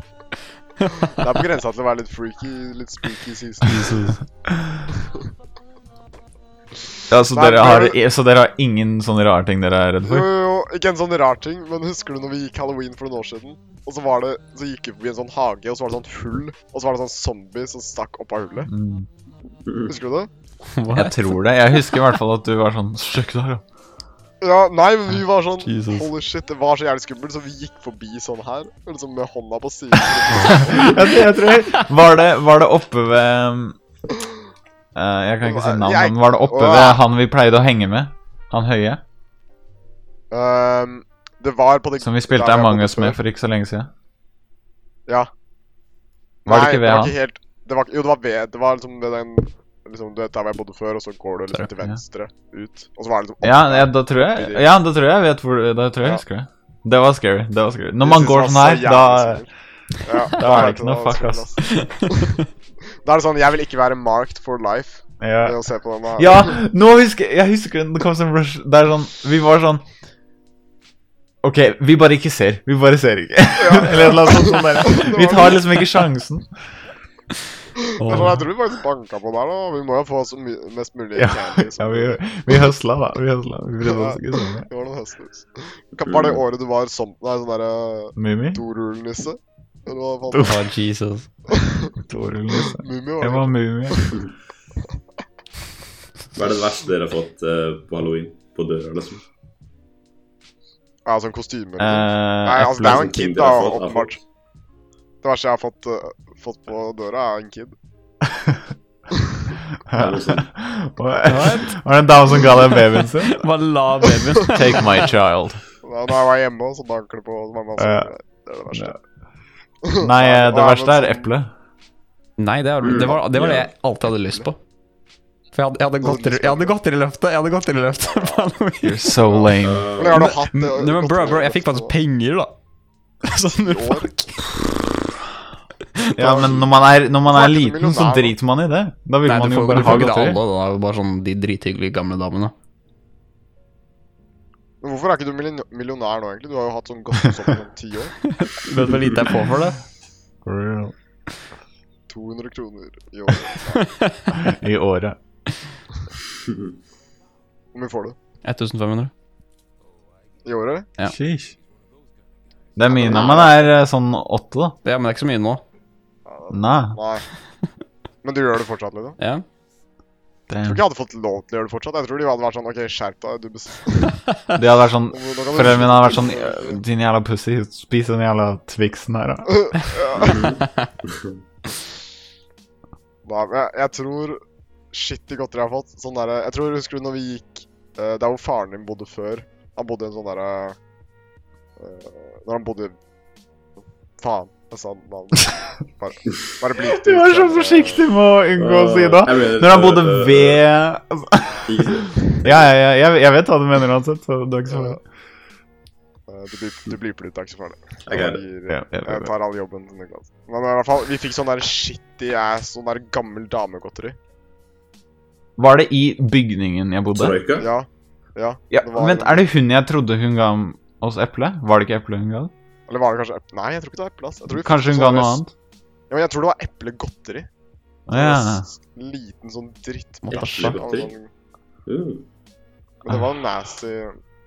Speaker 2: er på grensa til å være litt freaky, litt spooky season.
Speaker 3: Ja, så,
Speaker 2: Nei,
Speaker 3: dere har,
Speaker 2: det
Speaker 3: så dere har ingen sånne rare ting dere er
Speaker 2: Jo,
Speaker 3: redd for?
Speaker 2: jo, jo, ikke en sånn rar ting, men husker du når vi gikk halloween for noen år siden? Og så var det, så gikk vi forbi en sånn hage, og så var det sånn hull, og så var det sånn zombie som stakk opp av hullet.
Speaker 3: Mm.
Speaker 2: Husker du det?
Speaker 3: Jeg tror det. Jeg husker i hvert fall at du var sånn Sjekk der, ja.
Speaker 2: Ja, nei, men vi var sånn
Speaker 3: Jesus.
Speaker 2: Holy shit, det var så jævlig skummelt, så vi gikk forbi sånn her, liksom med hånda på siden.
Speaker 3: Jeg, jeg tror jeg, var, det, var det oppe ved um, eh, Jeg kan ikke si navn, men var det oppe ved han vi pleide å henge med? Han høye?
Speaker 2: Ehm, det var på det
Speaker 3: Som vi spilte
Speaker 2: der jeg
Speaker 3: Among
Speaker 2: bodde
Speaker 3: us med
Speaker 2: før.
Speaker 3: for ikke så lenge siden?
Speaker 2: Ja.
Speaker 3: Var det ikke ved
Speaker 2: det var
Speaker 3: han?
Speaker 2: Ikke helt, det var, ikke- jo, det var ved Det var liksom ved den liksom, Du vet der hvor jeg bodde før, og så går du liksom til
Speaker 3: Ja.
Speaker 2: venstre ut. Og så var det liksom opp
Speaker 3: Ja,
Speaker 2: der.
Speaker 3: ja, da tror jeg Ja, da tror jeg jeg vet hvor Da tror
Speaker 2: Ja.
Speaker 3: jeg jeg husker det. Det var scary. det var scary Når
Speaker 2: Jeg
Speaker 3: man
Speaker 2: synes det
Speaker 3: går
Speaker 2: var
Speaker 3: sånn
Speaker 2: så
Speaker 3: her,
Speaker 2: jævlig
Speaker 3: da
Speaker 2: skummelt. ja,
Speaker 3: da er det
Speaker 2: vet
Speaker 3: ikke
Speaker 2: du,
Speaker 3: noe
Speaker 2: var
Speaker 3: fuck,
Speaker 2: sånn skummelt, ass. Da er det sånn Jeg vil ikke være marked for life
Speaker 3: ja.
Speaker 2: ved å se på denne. her.
Speaker 3: ja, nå husker jeg husker det kom som rush Det er sånn Vi var sånn Ok, vi bare ikke ser. Vi bare ser ikke. Eller noe sånt. sånn der. Vi tar liksom ikke sjansen.
Speaker 2: Det er sånn, jeg tror vi faktisk banka på der, da. Vi må jo få så my mest mulig
Speaker 3: Ja,
Speaker 2: candy, så-
Speaker 3: Ja, vi, vi høsla, da. Vi høsla. Vi brydde oss ikke så mye.
Speaker 2: Det var noen høsthus. Kan- Var det året du var som, nei, sånn derre
Speaker 3: Mummi?
Speaker 2: dorullnisse? Eller hva faen?
Speaker 3: Dor-
Speaker 5: oh, Jesus.
Speaker 3: Toril, liksom.
Speaker 2: Mummi var
Speaker 3: Jeg
Speaker 2: det.
Speaker 3: var mummi.
Speaker 4: Hva er det verste dere har fått eh, på halloween? På døra, liksom?
Speaker 2: Ja, sånn kostymer. og sånn. Nei,
Speaker 3: Eh,
Speaker 2: altså, det er jo en
Speaker 4: Ting
Speaker 2: kid,
Speaker 4: dere
Speaker 2: da,
Speaker 4: har fått, har
Speaker 2: åpenbart.
Speaker 4: fått.
Speaker 2: Det verste jeg har fått, eh, fått på døra, er en kid.
Speaker 3: Hva- Var det en dame som ga deg babyen sin?
Speaker 5: Bare la babyen
Speaker 3: Take my child.
Speaker 2: Da, da jeg var hjemme, så banker det på. Så var det, masse,
Speaker 3: Ja.
Speaker 2: det er det verste.
Speaker 3: Nei, eh, det
Speaker 2: Ja,
Speaker 3: verste
Speaker 2: men
Speaker 3: er
Speaker 2: sånn-
Speaker 3: eple.
Speaker 5: Nei, det, var- det, var, det var det jeg alltid hadde lyst på. For jeg hadde, jeg hadde godteri- jeg hadde godteriløfte. Jeg hadde godteriløfte på halloween.
Speaker 3: You're so lame.
Speaker 2: Hvor lenge har du
Speaker 5: eh,
Speaker 2: hatt det?
Speaker 5: Nei, men bro, bro, jeg fikk faktisk penger, da. Sånn,
Speaker 2: I år?
Speaker 3: Ja, men når man er, når man er
Speaker 2: Snakket
Speaker 3: liten, så
Speaker 2: millionær.
Speaker 3: driter man i det. Da vil
Speaker 5: Nei,
Speaker 3: man
Speaker 5: du
Speaker 3: jo
Speaker 5: får, du
Speaker 3: bare ha
Speaker 5: får ikke det alle,
Speaker 3: godteri.
Speaker 5: da. Det er jo bare sånn de drithyggelige gamle damene.
Speaker 2: Men hvorfor er ikke du millionær- millionær nå, egentlig? Du har jo hatt sånn godtesopp i ti år.
Speaker 5: Vet du hvor lite jeg får for det?
Speaker 3: For real.
Speaker 2: 200 kroner i år.
Speaker 3: I året.
Speaker 2: Hvor mye får du?
Speaker 5: 1500.
Speaker 2: I året?
Speaker 5: Ja.
Speaker 3: Sheesh. Det er mye når man er eh, sånn åtte, da.
Speaker 5: Ja, men det er ikke så mye nå.
Speaker 3: Nei.
Speaker 2: Nei. Men du gjør det fortsatt, liksom?
Speaker 5: Ja.
Speaker 2: Jeg tror
Speaker 3: Damn.
Speaker 2: ikke jeg hadde fått lov til å gjøre det fortsatt. Jeg tror de hadde vært sånn OK, skjerp deg. Du bes...
Speaker 3: Det hadde vært sånn
Speaker 2: Nå kan du-
Speaker 3: Foreldrene mine hadde vært sånn «Ja, Din jævla pussy, spis den jævla Twixen her, da.
Speaker 2: Nei, men jeg, jeg tror Shit i godteri jeg har fått. Sånn der, jeg tror, Husker du når vi gikk eh, Der hvor faren din bodde før? Han bodde i en sånn derre eh, Når han bodde Faen, jeg sa navnet. Bare, bare blink
Speaker 3: Du
Speaker 2: det ut,
Speaker 3: er så
Speaker 2: eller-
Speaker 3: forsiktig med å unngå å si det.
Speaker 4: Eh, Jeg mener,
Speaker 3: Når han bodde
Speaker 4: øh,
Speaker 3: ved altså,
Speaker 4: ikke-
Speaker 3: Ja, ja, ja, jeg, jeg vet hva du mener uansett. Så det er ikke så
Speaker 2: Ja. Eh, Du blip- du bliper det ut, det er ikke så farlig.
Speaker 4: Jeg er-
Speaker 2: gir-
Speaker 3: Ja, ja, ja,
Speaker 2: Jeg
Speaker 3: ja.
Speaker 2: tar all jobben til Niklas. Men i hvert fall, vi fikk sånn der shitty ass, sånn der gammel damegodteri.
Speaker 3: Var det i bygningen jeg bodde?
Speaker 4: Troika?
Speaker 2: Ja. Ja.
Speaker 3: Ja,
Speaker 2: Det var-
Speaker 3: Vent, er det hun jeg trodde hun ga oss eple? Var det ikke eple hun ga?
Speaker 2: Eller var det kanskje eple? Nei, jeg tror ikke det var eple. ass. Jeg tror vi fikk
Speaker 3: Kanskje hun ga
Speaker 2: sånn
Speaker 3: noe
Speaker 2: der-
Speaker 3: annet?
Speaker 2: Ja, men jeg tror det var eplegodteri.
Speaker 3: Å, Ja.
Speaker 2: En liten sånn
Speaker 5: What
Speaker 2: drittbæsj.
Speaker 5: the
Speaker 4: fuck?
Speaker 2: Sånn,
Speaker 4: Mm.
Speaker 2: men det
Speaker 3: Ah.
Speaker 2: var nasty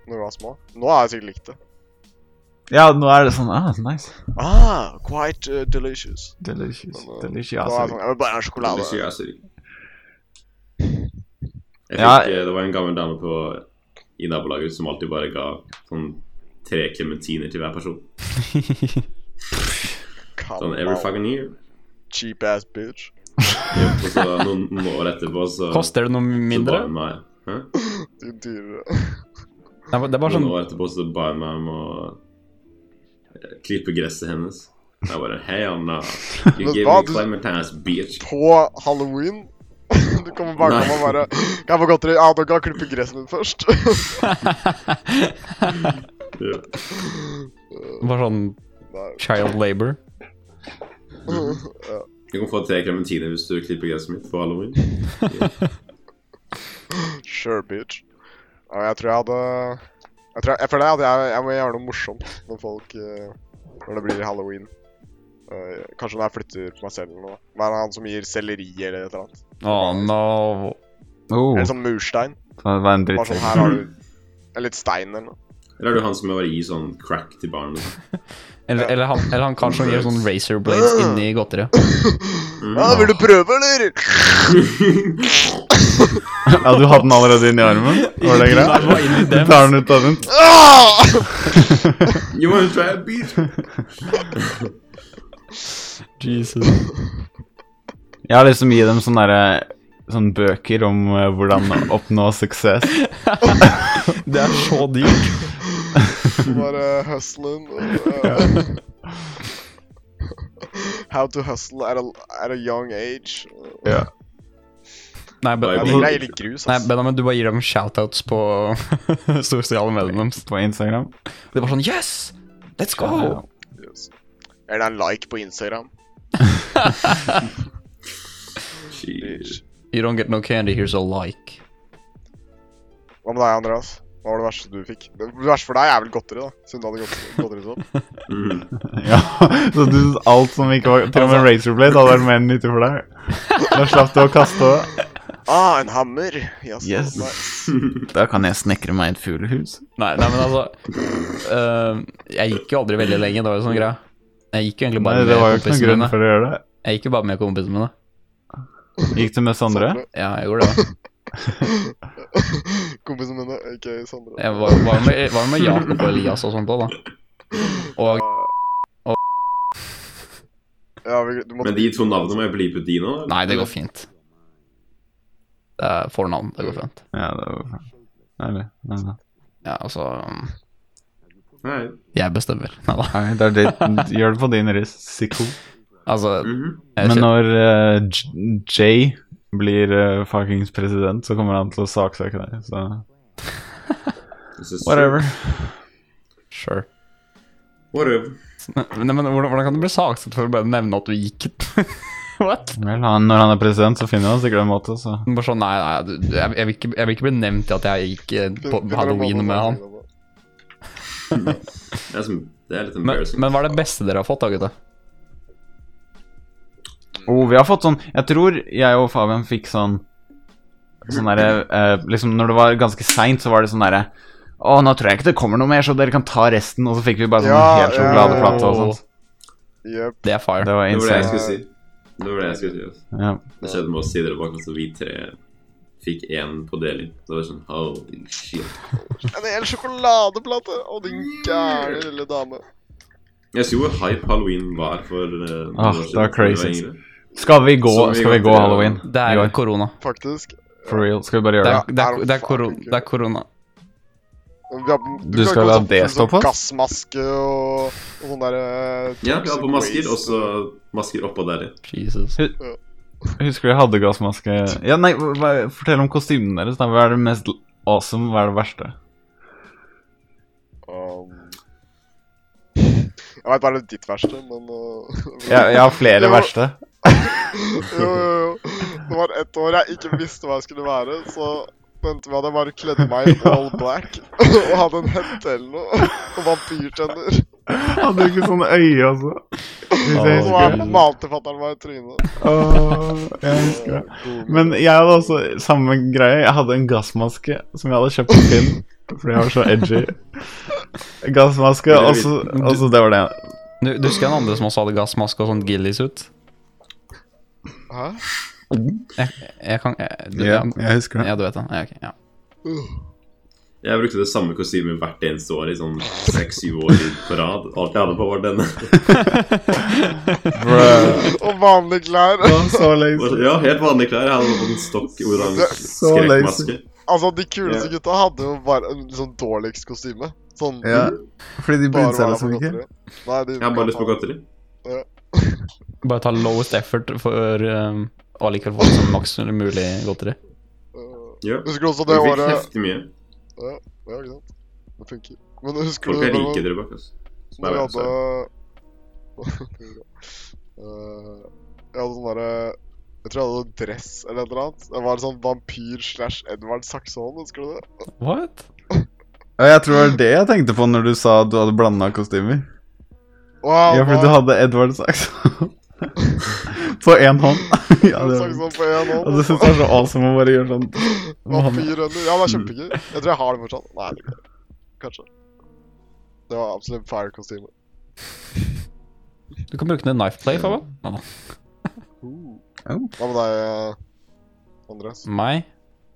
Speaker 2: når vi var små. Nå har jeg sikkert likt det.
Speaker 3: ja, nå er det sånn ah, Nice.
Speaker 2: Ah, quite uh, delicious.
Speaker 3: Delicious.
Speaker 2: Men, uh, Da er jeg
Speaker 3: Delicious.
Speaker 2: sånn, jeg vil bare ha sjokolade.
Speaker 4: Hvis ikke jeg er syk. Jeg fikk,
Speaker 3: Ja.
Speaker 4: eh, Det var en gammel dame på, i nabolaget som alltid bare ga sånn tre klementiner til hver person. Sånn every
Speaker 2: Come on,
Speaker 4: fucking year.
Speaker 2: Cheap ass bitch.
Speaker 4: Og så noen noen år etterpå så
Speaker 5: Koster det noe mindre?
Speaker 4: Så ba hun meg, Hæ?
Speaker 2: Du dyrere.
Speaker 5: Det er bare- det er bare
Speaker 4: Noen
Speaker 5: sånn
Speaker 4: år etterpå så ba hun meg om å eh, klippe gresset hennes. Jeg bare Hell no. You
Speaker 2: Men
Speaker 4: gave
Speaker 2: hva, du-
Speaker 4: me clementines, bitch.
Speaker 2: På halloween Du kommer barna og bare 'Kan jeg få godteri?' Ja, du kan klippe gresset mitt først.
Speaker 4: Ja.
Speaker 5: Bare sånn
Speaker 2: Nei.
Speaker 5: child labor.
Speaker 2: Mm. Ja.
Speaker 4: Du kan få tre klementiner hvis du klipper gresset mitt på halloween.
Speaker 2: Sure, bitch. Ja, jeg tror jeg hadde Jeg, tror jeg, jeg føler at jeg, jeg må gjøre noe morsomt når folk eh, Når det blir halloween. Eh, kanskje når jeg flytter på meg selv eller noe. Men han som gir selleri eller et eller annet.
Speaker 5: Oh no.
Speaker 3: Oh,
Speaker 2: Eller sånn murstein.
Speaker 3: det var en
Speaker 2: Bare sånn
Speaker 3: drittsekk.
Speaker 2: her har du Eller litt stein eller noe.
Speaker 4: Eller er du han som bare gir sånn crack til barnet?
Speaker 5: Eller, eller, han, eller han kanskje gir sånn razor blades inni godteriet.
Speaker 2: Ja, Ah, vil du prøve, eller?
Speaker 3: Ja, du hadde den allerede inni armen? Var det greit?
Speaker 5: Nei, inn i
Speaker 3: sånn- Du
Speaker 5: dem.
Speaker 3: tar den ut av den.
Speaker 2: Ah!
Speaker 4: You wanna try a beat?
Speaker 5: Jesus.
Speaker 3: Jeg har lyst til å gi dem sånne, derre- sånne bøker om eh, hvordan oppnå suksess.
Speaker 5: Det er så dyrt.
Speaker 2: Bare hustlen. eh, How to hustle at a, at a young age.
Speaker 3: Ja.
Speaker 5: Nei, Ben-
Speaker 2: Jeg liker, jeg liker grus,
Speaker 5: Nei,
Speaker 2: ass.
Speaker 5: Benjamin, du bare gir dem shoutouts på storsosiale mediene deres.
Speaker 3: På Instagram.
Speaker 5: Det var sånn Yes! Let's go!
Speaker 3: Ja.
Speaker 2: Yes. Eller en like på Instagram.
Speaker 4: Jeez.
Speaker 5: You don't get no candy, here's a like.
Speaker 2: Hva med deg, Andreas? Hva var det verste du fikk? Det verste for deg er vel godteri, da. Siden du hadde godteri, godteri sånn.
Speaker 4: Mm.
Speaker 3: Ja, så du synes alt som ikke var Til og med
Speaker 5: Altså-
Speaker 3: Razor Blade hadde vært mer nyttig for deg. Da slapp du å kaste òg.
Speaker 2: Ah, en hammer! Yes.
Speaker 3: Yes.
Speaker 2: nice.
Speaker 3: Da kan jeg snekre meg et fuglehus.
Speaker 5: Nei, nei, men altså eh, Jeg gikk jo aldri veldig lenge, det var jo sånn greia. Jeg gikk jo egentlig
Speaker 3: Nei,
Speaker 5: bare
Speaker 3: det var jo
Speaker 5: med
Speaker 3: ikke noen
Speaker 5: kompisene
Speaker 3: grunn
Speaker 5: mine.
Speaker 3: for å gjøre det.
Speaker 5: Jeg gikk jo bare med kompisene mine.
Speaker 3: Gikk du med Sondre?
Speaker 2: Sondre.
Speaker 5: Ja, jeg gjorde det.
Speaker 2: Kompisen min, ikke Sondre.
Speaker 5: Jeg var, var, med, var med Jakob og Elias og sånt òg, da. Og
Speaker 2: Ja, vi, du måtte
Speaker 4: Men de to navnene må jeg blipe de nå? eller?
Speaker 5: Nei, det går fint. Det er fornavn. Det går fint.
Speaker 3: Ja, det var Nei, nei, nei.
Speaker 5: Ja, altså
Speaker 4: Nei.
Speaker 5: Jeg bestemmer. Nei da.
Speaker 3: Nei, det er det Gjør det på din risiko.
Speaker 5: Altså
Speaker 4: Mhm.
Speaker 5: jeg vet
Speaker 3: Men
Speaker 5: ikke.
Speaker 3: når eh, J- Jay blir uh, fuckings president, så kommer han til å saksøke deg, så
Speaker 4: This is
Speaker 3: whatever.
Speaker 5: Sure.
Speaker 4: true. Whatever.
Speaker 5: Nei, men hvordan, hvordan kan du bli saksøkt for å bare nevne at du gikk What?
Speaker 3: Vel, han, når han er president, så finner han sikkert en måte, så
Speaker 5: Bare sånn, nei, nei, du- du- jeg, jeg, vil ikke, jeg vil ikke bli nevnt i at jeg gikk eh, på
Speaker 2: finne-
Speaker 5: på halloween med han.
Speaker 4: Det er, som, det er litt
Speaker 5: Men,
Speaker 4: embarrassing.
Speaker 5: men hva er det beste dere har fått, da, gutta?
Speaker 3: Oh, vi har fått sånn Jeg tror jeg og Fabian fikk sånn Sånn derre eh, Liksom når det var ganske seint, så var det sånn derre Å, nå tror jeg ikke det kommer noe mer, så dere kan ta resten. Og så fikk vi bare sånn
Speaker 2: Ja,
Speaker 3: helt sjokoladeplate og sånt.
Speaker 2: Jep.
Speaker 5: Det er fire.
Speaker 3: Det var
Speaker 4: Det var det jeg
Speaker 3: insane.
Speaker 4: skulle si. Det var det jeg skulle si. altså.
Speaker 3: Ja.
Speaker 4: Det skjedde med oss tidligere bak, altså vi tre fikk én på deling. Så det var sånn holy shit.
Speaker 2: En hel sjokoladeplate! Å, din gærne lille dame.
Speaker 4: Jeg husker hvor hype halloween var for eh, noen
Speaker 3: Ah, det
Speaker 4: år siden,
Speaker 3: var
Speaker 4: da vi
Speaker 3: crazy.
Speaker 4: yngre.
Speaker 3: Skal vi gå
Speaker 4: Så vi
Speaker 3: Skal vi
Speaker 4: går
Speaker 3: gå
Speaker 4: til-
Speaker 3: halloween?
Speaker 5: Det
Speaker 3: I
Speaker 5: er
Speaker 3: går?
Speaker 5: korona.
Speaker 2: Faktisk.
Speaker 3: For real. Skal vi
Speaker 5: Det
Speaker 3: bare gjøre
Speaker 5: er,
Speaker 3: det?
Speaker 5: det, er, det, er
Speaker 2: Ja,
Speaker 5: korona.
Speaker 2: er det
Speaker 5: det er korona.
Speaker 2: Vi har- Du,
Speaker 3: Du
Speaker 2: kan
Speaker 3: skal
Speaker 2: gå
Speaker 3: la
Speaker 2: sånn-
Speaker 3: det
Speaker 2: sånn
Speaker 3: stå på?
Speaker 2: Gassmaske og, og sånn derre
Speaker 4: Ja, vi hadde på masker, og så masker oppå der igjen.
Speaker 5: Jesus.
Speaker 3: Husker vi hadde gassmaske Ja, nei, hva- fortell om kostymene deres. da. Hva er det mest awesome? Hva er det verste?
Speaker 2: Um, jeg veit bare ditt verste, men uh,
Speaker 3: Jeg, jeg har
Speaker 2: Jo.
Speaker 3: flere verste.
Speaker 2: jo, jo, jo. Det var ett år jeg ikke visste hva jeg skulle være, så vente med at jeg bare kledde meg i all black og hadde en hette eller noe, og vampyrtenner.
Speaker 3: Hadde ikke sånne øye, altså.
Speaker 2: Og
Speaker 3: jeg
Speaker 2: så
Speaker 3: husker.
Speaker 2: malte fatter'n meg i trynet.
Speaker 3: Åh, jeg husker det. Men jeg hadde også samme greie. Jeg hadde en gassmaske som jeg hadde kjøpt på Finn. Fordi jeg var så edgy. Gassmaske, og så og så det var det.
Speaker 5: Du, du husker han andre som også hadde gassmaske og sånn gillies-ut?
Speaker 2: Hæ?
Speaker 5: Jeg kan jeg, du,
Speaker 3: jeg husker
Speaker 5: Ja, du vet det. Ja, ok, ja.
Speaker 4: Jeg brukte det samme kostymet hvert eneste år i sånn seks-syv år i på rad. Alt jeg hadde på, var denne.
Speaker 2: Og vanlige klær.
Speaker 3: Så
Speaker 4: Og
Speaker 3: lazy.
Speaker 4: så- Ja, helt vanlige klær. Jeg hadde på en stokk oransje
Speaker 3: Så
Speaker 4: skrekkmaske.
Speaker 2: Altså, de kuleste gutta hadde jo bare en sånn dårligst kostyme. Sånn
Speaker 3: Ja, fordi de
Speaker 2: bare
Speaker 3: brydde seg
Speaker 2: være
Speaker 3: liksom
Speaker 2: på
Speaker 3: ikke.
Speaker 2: godteri. Nei, de
Speaker 4: Jeg har bare lyst på godteri.
Speaker 5: Bare ta lowest effort for um, og allikevel få så maks mulig godteri.
Speaker 2: Eh,
Speaker 4: Ja.
Speaker 2: Husker du også
Speaker 4: Vi
Speaker 2: det eh,
Speaker 4: fikk
Speaker 2: året
Speaker 4: heftig mye.
Speaker 2: Ja, ja, ikke sant. Det funker. Men husker
Speaker 4: Folk
Speaker 2: du
Speaker 4: er
Speaker 2: det
Speaker 4: rike,
Speaker 2: var-
Speaker 4: Drøbak. Altså.
Speaker 2: når
Speaker 4: Nei,
Speaker 2: vi
Speaker 4: nei,
Speaker 2: hadde sånn- Eh, Jeg hadde sånn derre Jeg tror jeg hadde sånn dress eller et eller annet. Jeg var sånn vampyr slash Edvard Saksehånd, husker du det?
Speaker 5: What?
Speaker 3: Ja, jeg tror det var det jeg tenkte på når du sa at du hadde blanda kostymer.
Speaker 2: Wow,
Speaker 3: Ja, fordi du hadde Edvard Sachs på én hånd. Ja, det var...
Speaker 2: Saksehånd på én
Speaker 3: Og det synes
Speaker 2: hånd.
Speaker 3: jeg er så awesome å bare gjøre sånn. Med hånda.
Speaker 2: Vampyrhøner. Ja, det er kjempegøy. Jeg tror jeg har det fortsatt. Nei, det er ikke det. kanskje. Det var absolutt fire-kostyme.
Speaker 5: Du kan bruke den i knife play, Fabian. Nei, nei.
Speaker 2: Hva
Speaker 3: Ja.
Speaker 2: med deg, eh, Andreas?
Speaker 5: Meg?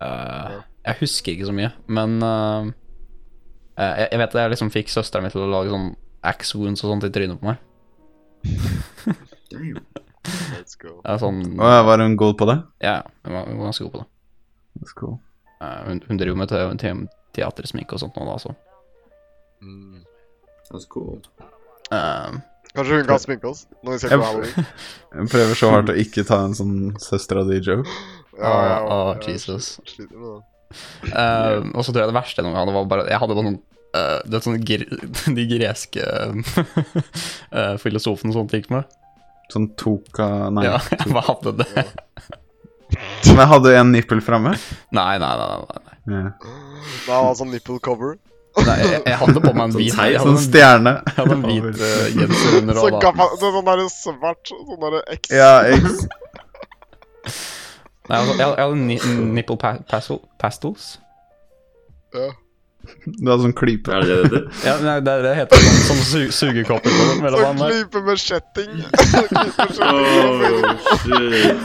Speaker 5: Eh, jeg husker ikke så mye, men eh, eh, jeg, jeg vet at jeg liksom fikk søsteren min til å lage sånn axe wounds og sånt i trynet på meg.
Speaker 4: Damn.
Speaker 2: Let's go.
Speaker 5: Jeg er sånn,
Speaker 3: Å, ja, var hun god på det?
Speaker 5: ja, hun var hun var ganske god på det.
Speaker 3: That's cool.
Speaker 5: Eh, hun, hun driver med te- te- teatersminke og sånt nå, da, altså. så.
Speaker 4: That's Altså, cool.
Speaker 5: Eh,
Speaker 2: Kanskje hun kan sminke oss når vi ser
Speaker 3: Jeg-
Speaker 2: på Halloween?
Speaker 3: Jeg prøver så hardt å ikke ta en sånn søstera di-joke.
Speaker 5: Åh, åh, Jesus.
Speaker 2: Jeg sliter med det.
Speaker 5: Eh, og så tror jeg det verste jeg noen gang hadde, var bare Jeg hadde bare noen eh, Du vet sånne gre- de greske eh, filosofene og sånt gikk med.
Speaker 3: Sånn toka Nei.
Speaker 5: Ja, jeg bare hadde det. Nei,
Speaker 3: Men jeg hadde en nippel framme.
Speaker 5: nei, nei. nei, nei.
Speaker 3: Ja.
Speaker 2: Da var det sånn nipple cover.
Speaker 5: nei jeg, jeg hadde på meg en
Speaker 4: Sånn
Speaker 5: hvit
Speaker 4: teip,
Speaker 5: jeg hadde
Speaker 3: Sånn
Speaker 5: en-
Speaker 3: stjerne.
Speaker 5: Jeg hadde en hvit eh, genser under
Speaker 2: Så
Speaker 5: og da.
Speaker 2: gav han det er sånn derre svart sånn derre X.
Speaker 3: Ja, jeg,
Speaker 5: Nei, altså, jeg, jeg hadde ni nipple pa pastel pastels.
Speaker 2: Ja.
Speaker 3: du hadde sånn klype.
Speaker 4: Er det det det heter?
Speaker 5: Ja, nei, det, det heter sånn som su sugekopper på den,
Speaker 2: Så
Speaker 5: mellom annet.
Speaker 2: klype med kjetting. Klype med kjetting.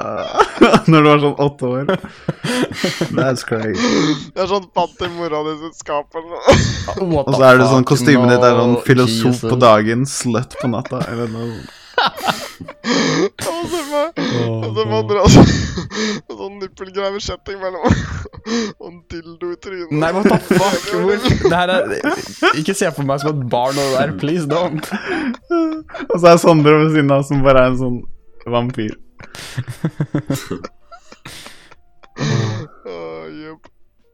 Speaker 4: Oh, shit.
Speaker 3: Når du var sånn åtte år. That's crazy.
Speaker 2: Det er sånn fant i mora di sitt skap eller noe.
Speaker 5: What the
Speaker 3: Og så er det sånn
Speaker 5: fuck,
Speaker 3: kostymet ditt er sånn
Speaker 5: no,
Speaker 3: filosof
Speaker 5: Jesus.
Speaker 3: på dagen, slut på natta. Eller noe.
Speaker 2: Jeg må se meg. Og så
Speaker 5: Åh,
Speaker 2: fant dere altså sånn nippelgreier med kjetting mellom og en dildo i trynet.
Speaker 5: Nei, what the fuck? Hvor? Det her er Ikke se på meg som et barn og det der, please don't.
Speaker 3: Og så er Sondre ved siden av som bare er en sånn vampyr.
Speaker 2: Åh, jep.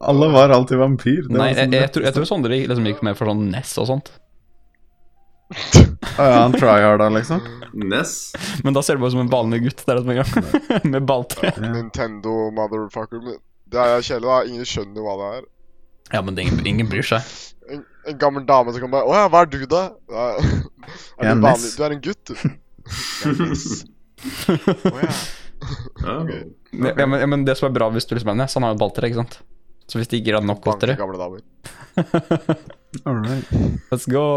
Speaker 3: Alle var alltid vampyr. Det
Speaker 5: Nei,
Speaker 3: var
Speaker 5: jeg,
Speaker 3: sånn-
Speaker 5: jeg, tror, jeg tror Sondre liksom gikk med for sånn Ness og sånt.
Speaker 3: Å ja, han tryharda, liksom?
Speaker 4: Ness?
Speaker 5: Men da ser du bare som en vanlig gutt. Det er det som er greia. Med balltre.
Speaker 2: Nintendo motherfucker. men Det er kjedelig, da. Ingen skjønner hva det er.
Speaker 5: Ja, men det er ingen, ingen bryr seg.
Speaker 2: En, en gammel dame som kan bare Å ja, hva er du, da? Ja.
Speaker 3: Jeg er
Speaker 2: Er du, vanlig?
Speaker 3: Ness.
Speaker 2: du er en gutt, du. Jeg er Ness. Å ja.
Speaker 4: Oh.
Speaker 5: Ja, men, ja, men det som er bra hvis du liksom er Ness, han har jo balltre, ikke sant? Så hvis de ikke gir han nok
Speaker 2: Banke
Speaker 5: godteri
Speaker 2: gamle damer.
Speaker 3: All right.
Speaker 5: Let's go!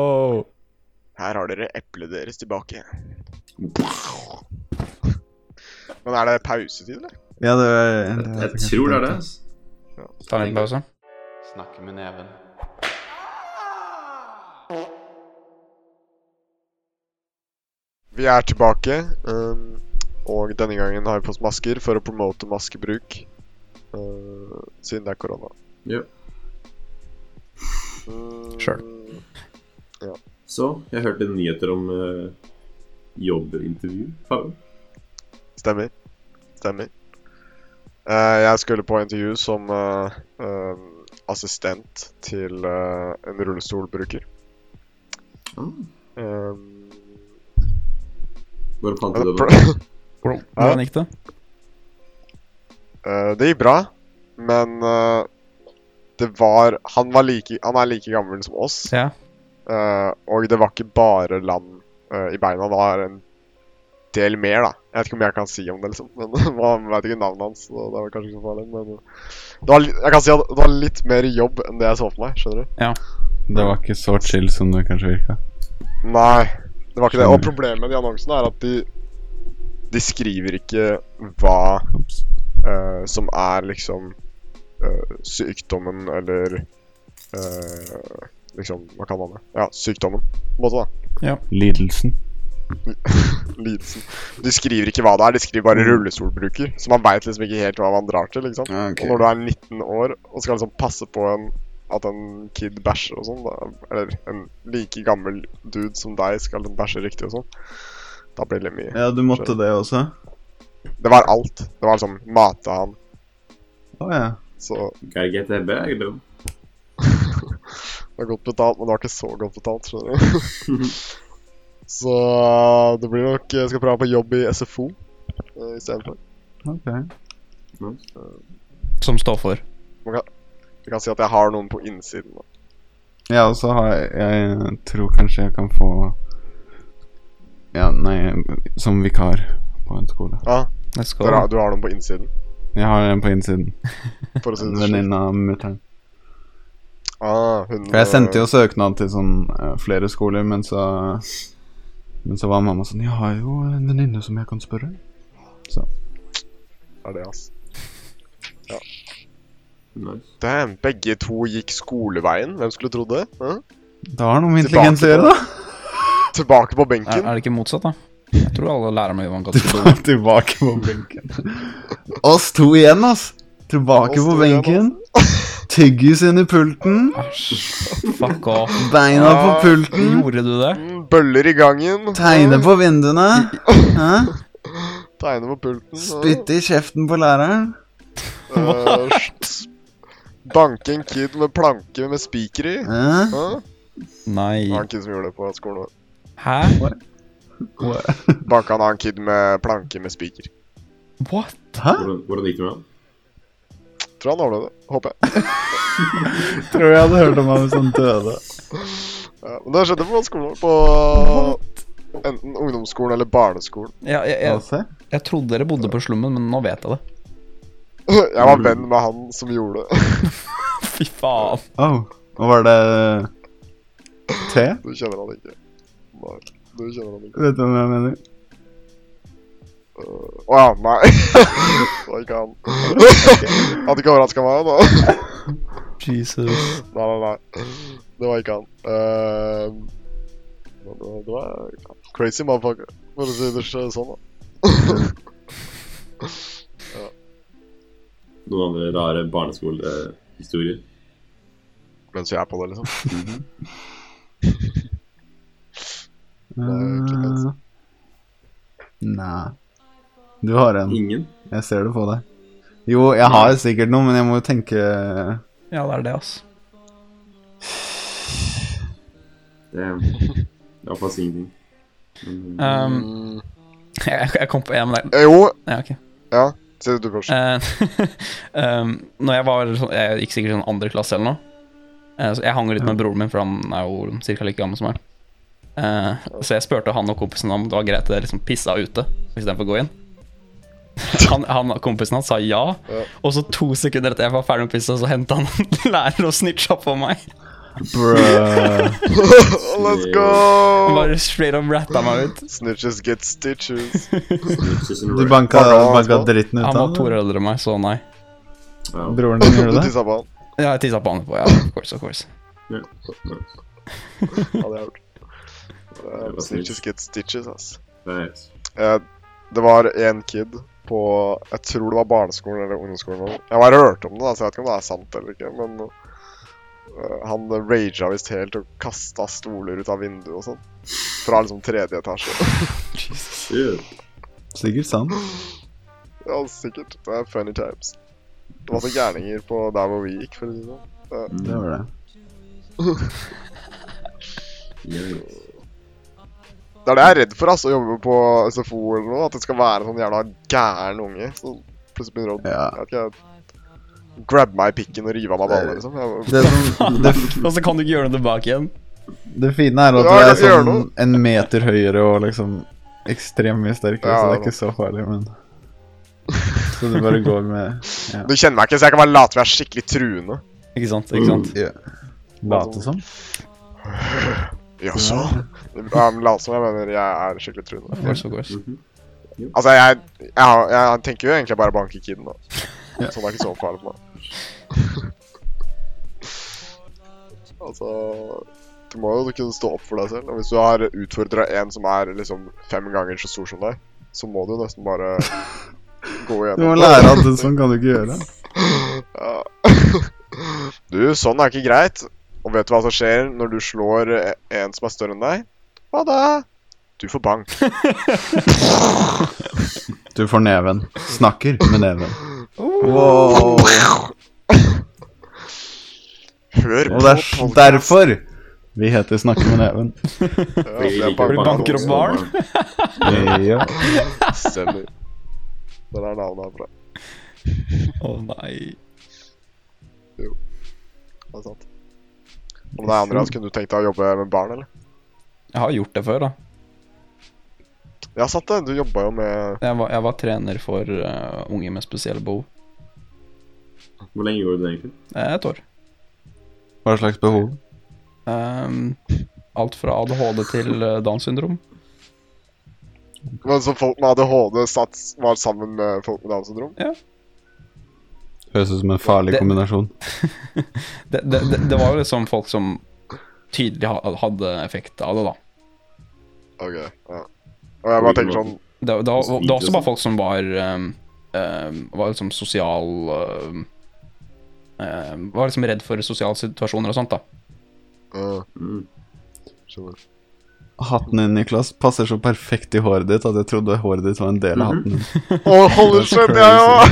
Speaker 2: Her har dere eplet deres tilbake. Men er det pausetid, eller?
Speaker 3: Ja, det var, det var
Speaker 4: Jeg tror det er det. altså. ass.
Speaker 5: Ta en liten pause.
Speaker 1: Snakke med neven.
Speaker 2: Vi er tilbake, ehm, og denne gangen har vi fått masker for å promote maskebruk. eh, siden det er korona.
Speaker 4: Ja.
Speaker 2: Mm,
Speaker 5: Sure.
Speaker 4: Så, jeg hørte nyheter om eh, jobbintervju. Faen.
Speaker 2: Stemmer. Stemmer. Eh, jeg skulle på intervju som eh, ehm, assistent til eh, en rullestolbruker.
Speaker 4: Ah,
Speaker 2: Ehm,
Speaker 4: Bare fant du
Speaker 2: men
Speaker 4: det
Speaker 2: pro-
Speaker 4: nå?
Speaker 5: Hvordan gikk det?
Speaker 2: Eh, det gikk bra, men eh, det var Han, var like, han er like gammel som oss,
Speaker 5: Ja.
Speaker 2: eh, og det var ikke bare lam eh, i beina. Det var en del mer, da. Jeg vet ikke om jeg kan si om det, liksom. Men Man vet ikke navnet hans, så det var kanskje ikke så farlig. Men eh, det var, li- jeg kan si at det var litt mer jobb enn det jeg så for meg. Skjønner du?
Speaker 3: Det var ikke så chill som det kanskje virka.
Speaker 2: Nei, det var ikke det.
Speaker 3: Skjønner.
Speaker 2: Og problemet med de annonsene er at de, de skriver ikke hva
Speaker 3: Ops.
Speaker 2: eh, som er liksom eh, sykdommen eller eh, Liksom, hva kan man det? Ja, sykdommen, på en måte. da.
Speaker 3: Lidelsen.
Speaker 2: Lidelsen. De skriver ikke hva det er, de skriver bare rullestolbruker. Så man veit liksom ikke helt hva man drar til. liksom. Og når du er 19 år og skal liksom passe på en, at en kid bæsjer og sånn, da- eller en like gammel liksom dude som deg skal bæsje riktig og sånn, da blir det mye.
Speaker 3: Ja, du måtte det også?
Speaker 2: Det var alt. Det var liksom mate han.
Speaker 3: Å ja.
Speaker 2: Så
Speaker 4: Gotta get that bag, though.
Speaker 2: det var godt betalt, men det var ikke så godt betalt, skjønner du. så eh, det blir nok Jeg skal prøve på jobb i SFO eh, istedenfor.
Speaker 3: Ok.
Speaker 5: Som står for.
Speaker 2: Jeg kan si at jeg har noen på innsiden. da.
Speaker 3: Ja, og så har jeg Jeg tror kanskje jeg kan få Ja, nei, som vikar på en skole.
Speaker 2: Ja,
Speaker 5: Let's go.
Speaker 2: du har, du har noen på innsiden,
Speaker 3: Jeg har en på innsiden.
Speaker 4: Oh,
Speaker 2: for å si
Speaker 3: En
Speaker 2: det slik.
Speaker 3: venninne av mutter'n.
Speaker 2: Ah, hun,
Speaker 3: For jeg sendte jo søknad til sånn eh, flere skoler, men så Men så var mamma sånn Jeg har jo en venninne som jeg kan spørre.
Speaker 2: eh, Er det, ass.
Speaker 4: Nice.
Speaker 2: Damn, begge to gikk skoleveien. Hvem skulle trodd det? Hæ?
Speaker 3: Det har noe med intelligens å gjøre, da.
Speaker 2: Tilbake på
Speaker 5: Er,
Speaker 2: benken.
Speaker 5: er det ikke motsatt, da? Jeg tror alle lærer meg hva man
Speaker 3: Du
Speaker 5: kan
Speaker 3: var tilbake på benken. Oss to igjen, ass. Tilbake
Speaker 2: Oss
Speaker 3: på
Speaker 2: to igjen,
Speaker 3: benken. Tyggis inn i pulten.
Speaker 5: Æsj. Fuck off.
Speaker 3: Beina på
Speaker 2: Ah,
Speaker 3: pulten.
Speaker 5: Gjorde du det?
Speaker 2: Mm, Bøller i gangen.
Speaker 3: Tegne på vinduene. Hæ?
Speaker 2: Tegne på pulten.
Speaker 3: Spytte i kjeften på læreren.
Speaker 2: Eh, s- Banke en kid med planke med spiker i.
Speaker 3: Hæ?
Speaker 2: Hæ?
Speaker 5: Nei.
Speaker 2: Det var en kid som gjorde det på skolen vår.
Speaker 5: Hæ?
Speaker 2: Banka en annen kid med planke med spiker.
Speaker 5: What?
Speaker 3: Hæ?
Speaker 4: Hvordan, hvordan gikk det med han?
Speaker 2: Tror han overlevde. Håper jeg.
Speaker 3: Tror jeg hadde hørt om han hvis han døde.
Speaker 2: Ja, men det skjedde på skolen vår. På enten ungdomsskolen eller barneskolen.
Speaker 5: Ja, jeg,
Speaker 3: Ja,
Speaker 5: jeg,
Speaker 3: se.
Speaker 5: jeg trodde dere bodde på slummen, men nå vet jeg det.
Speaker 2: Jeg var venn med han som gjorde det.
Speaker 5: Fy faen.
Speaker 3: Oh, og var det T?
Speaker 2: Du kjenner han ikke. Nei, du kjenner han ikke.
Speaker 3: Vet du hva jeg mener?
Speaker 2: Å ja, nei. Det var ikke han. Hadde ikke overraska meg, da.
Speaker 5: Jesus.
Speaker 2: Nei, nei, nei. Det var ikke han. Eh, men det var- det var crazy motherfucker, for å si det sj- sånn. da.
Speaker 4: Noen andre rare barneskolehistorier?
Speaker 2: Mens jeg er på det, liksom.
Speaker 3: Uh, Eh, nei. Du har en.
Speaker 4: Ingen?
Speaker 3: Jeg ser det på deg. Jo, jeg har sikkert noe, men jeg må jo tenke eh,
Speaker 5: Ja, det er det, ass.
Speaker 4: Det det var faktisk ingenting. Men, eh,
Speaker 5: Um,
Speaker 2: Mm.
Speaker 5: jeg, jeg kom på en, men det
Speaker 2: Eh, Jo,
Speaker 5: er Ja, ok.
Speaker 2: sier du først.
Speaker 5: Eh, um, når jeg var sånn- Jeg gikk sikkert sånn andre klasse eller noe. Eh, så jeg hang litt med broren min, for han er jo cirka like gammel som meg. Eh, så jeg spurte han og kompisen om det var greit at jeg liksom pissa ute istedenfor å gå inn. Han, han, kompisen hans sa ja,
Speaker 2: Ja.
Speaker 5: og så to sekunder etter jeg var ferdig med pissa, så henta han en lærer og snitcha på meg.
Speaker 3: Brø.
Speaker 2: Let's
Speaker 5: Han
Speaker 2: go!
Speaker 5: bare straight up ratta meg ut.
Speaker 2: Snitches get stitches.
Speaker 4: snitches and
Speaker 3: Du
Speaker 4: rape.
Speaker 3: banka,
Speaker 2: Var det han
Speaker 3: banka
Speaker 2: som-
Speaker 3: dritten ut
Speaker 5: Han var
Speaker 3: av
Speaker 5: to
Speaker 3: den?
Speaker 5: år eldre enn meg, så nei.
Speaker 4: Ja.
Speaker 3: Broren din
Speaker 2: Du
Speaker 3: gjorde det?
Speaker 2: tissa på han.
Speaker 5: Ja, jeg tissa på han etterpå. Ja, of course, of course.
Speaker 2: Hadde jeg hørt.
Speaker 4: Det
Speaker 2: Eh,
Speaker 4: var
Speaker 2: Snitches
Speaker 4: snitch.
Speaker 2: get stitches, ass.
Speaker 4: Nice.
Speaker 2: Eh, Det var en kid på Jeg tror det var barneskolen eller ungdomsskolen. eller noe. Jeg bare hørte om det, da, så jeg vet ikke om det er sant eller ikke. Men eh, han raga visst helt og kasta stoler ut av vinduet og sånn. Fra liksom tredje etasje.
Speaker 4: Shit.
Speaker 3: Sikkert sant.
Speaker 2: ja, sikkert. Det er funny times. Det var så gærninger på der hvor vi gikk, for å si det sånn.
Speaker 3: Det var det.
Speaker 4: Yes.
Speaker 2: Det er det jeg er redd for, altså, å jobbe på SFO eller noe. At det skal være en sånn jævla gæren unge som plutselig begynner å
Speaker 3: Ja.
Speaker 2: Jeg vet ikke, jeg- grabbe meg i pikken og rive av meg ballene, liksom. Jeg,
Speaker 3: Det, som, det,
Speaker 5: Og så kan du ikke gjøre noe tilbake igjen.
Speaker 3: det fine er at
Speaker 2: Ja,
Speaker 3: du er
Speaker 2: jeg gjør
Speaker 3: sånn en meter høyere og liksom ekstremt mye sterkere,
Speaker 2: Ja,
Speaker 3: så
Speaker 2: da.
Speaker 3: det er ikke så farlig, men Så du bare går med
Speaker 2: Du kjenner meg ikke, så jeg kan bare late som jeg er skikkelig truende.
Speaker 5: Ikke sant? ikke sant?
Speaker 3: late som?
Speaker 2: Jaså? Ja, men late som jeg mener jeg er skikkelig truende.
Speaker 5: Of course, of course.
Speaker 2: Altså, jeg, jeg, har- jeg tenker jo egentlig bare banke kiden, da. Så det er ikke så farlig for meg. altså Du må jo kunne stå opp for deg selv. Og hvis du har utfordra en som er liksom fem ganger så stor som deg, så må du nesten bare gå
Speaker 3: Du må
Speaker 2: igjennom.
Speaker 3: lære at det sånn kan du ikke gjøre.
Speaker 2: Ja. Du, sånn er ikke greit. Og vet du hva som skjer når du slår en som er større enn deg? Hva da? Du får bank.
Speaker 3: Du får neven. Snakker med neven.
Speaker 5: Oh.
Speaker 2: Hør
Speaker 3: Og det er
Speaker 2: på
Speaker 3: s- derfor vi heter Snakke med neven.
Speaker 4: Fordi vi
Speaker 2: det er
Speaker 4: liker
Speaker 2: bare-
Speaker 4: å
Speaker 5: banker opp barn.
Speaker 3: Ja.
Speaker 2: Stemmer. Den er navnet herfra.
Speaker 5: Å nei.
Speaker 2: Det er sant. Om det er Andreas, kunne du tenkt deg å jobbe med barn, eller?
Speaker 5: Jeg har gjort det før, da.
Speaker 2: Ja, sant det. Du jobba jo med
Speaker 5: Jeg var, jeg var trener for eh, unge med spesielle behov.
Speaker 4: Hvor lenge gjorde du det egentlig?
Speaker 5: Eh, Et år.
Speaker 3: Hva slags behov?
Speaker 5: Ehm, alt fra ADHD til eh, Downs syndrom.
Speaker 2: Men så folk med ADHD satt, var sammen med folk med Downs syndrom?
Speaker 3: Høres ut som en farlig
Speaker 5: Det-
Speaker 3: kombinasjon.
Speaker 5: Det, det, det, det var jo liksom folk som tydelig ha- hadde effekt av det, da.
Speaker 2: Ok, ja. Og jeg bare tenker sånn
Speaker 5: Det, det, var, det var også bare folk som var ehm, ehm, Var liksom sosial ehm, ehm, Var liksom redd for sosiale situasjoner og sånt, da.
Speaker 2: øh,
Speaker 4: Mm.
Speaker 2: Skjønner.
Speaker 3: Hatten din, Niklas, passer så perfekt i håret ditt at jeg trodde håret ditt var en del
Speaker 5: Mhm.
Speaker 3: av hatten din.
Speaker 2: Å, holy
Speaker 3: That's
Speaker 2: shit, jeg òg!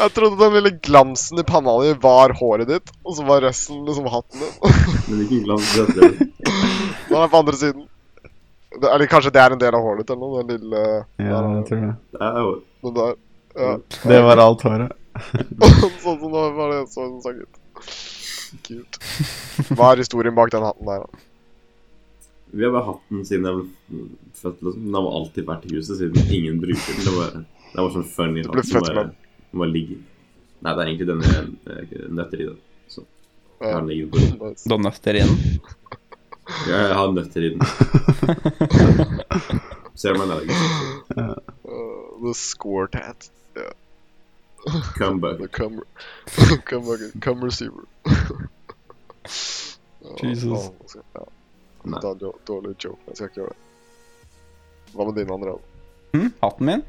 Speaker 2: Jeg trodde den lille glansen i panna di var håret ditt, og så var resten liksom hatten din.
Speaker 4: Men hvilken glans er dette?
Speaker 2: Nå er den på andre siden. Det, eller kanskje det er en del av håret ditt, eller noe? Den lille
Speaker 3: Ja, jeg tror det.
Speaker 4: Det er jo
Speaker 2: Den der. Ja.
Speaker 3: Det var alt håret.
Speaker 2: sånn som det var det så den sang ut. Kult. Hva er historien bak den hatten der, da?
Speaker 4: Vi har bare hatt den siden jeg ble født. Liksom. Den har alltid vært i huset siden ingen bruker den. Det var, det var sånn funny
Speaker 2: ble
Speaker 4: hatt som
Speaker 2: født
Speaker 4: bare,
Speaker 2: med den.
Speaker 4: som bare ligger. Nei, det er egentlig den jeg jeg nøtter i. da. Så jeg har den liggende på rommet.
Speaker 2: Nice.
Speaker 5: Da nøtter inn.
Speaker 4: Jeg har nøtter i den. Ser du meg der? liksom?
Speaker 2: Uh, the squirt hat.
Speaker 4: Comeback.
Speaker 2: The cum... cum, cum receiver. Ja,
Speaker 5: Jesus.
Speaker 2: faen, jeg skal- Ja.
Speaker 4: Nei.
Speaker 2: Da, da, dårlig joke. Jeg skal ikke gjøre det. Hva med din andre?
Speaker 5: Hm? Hatten min?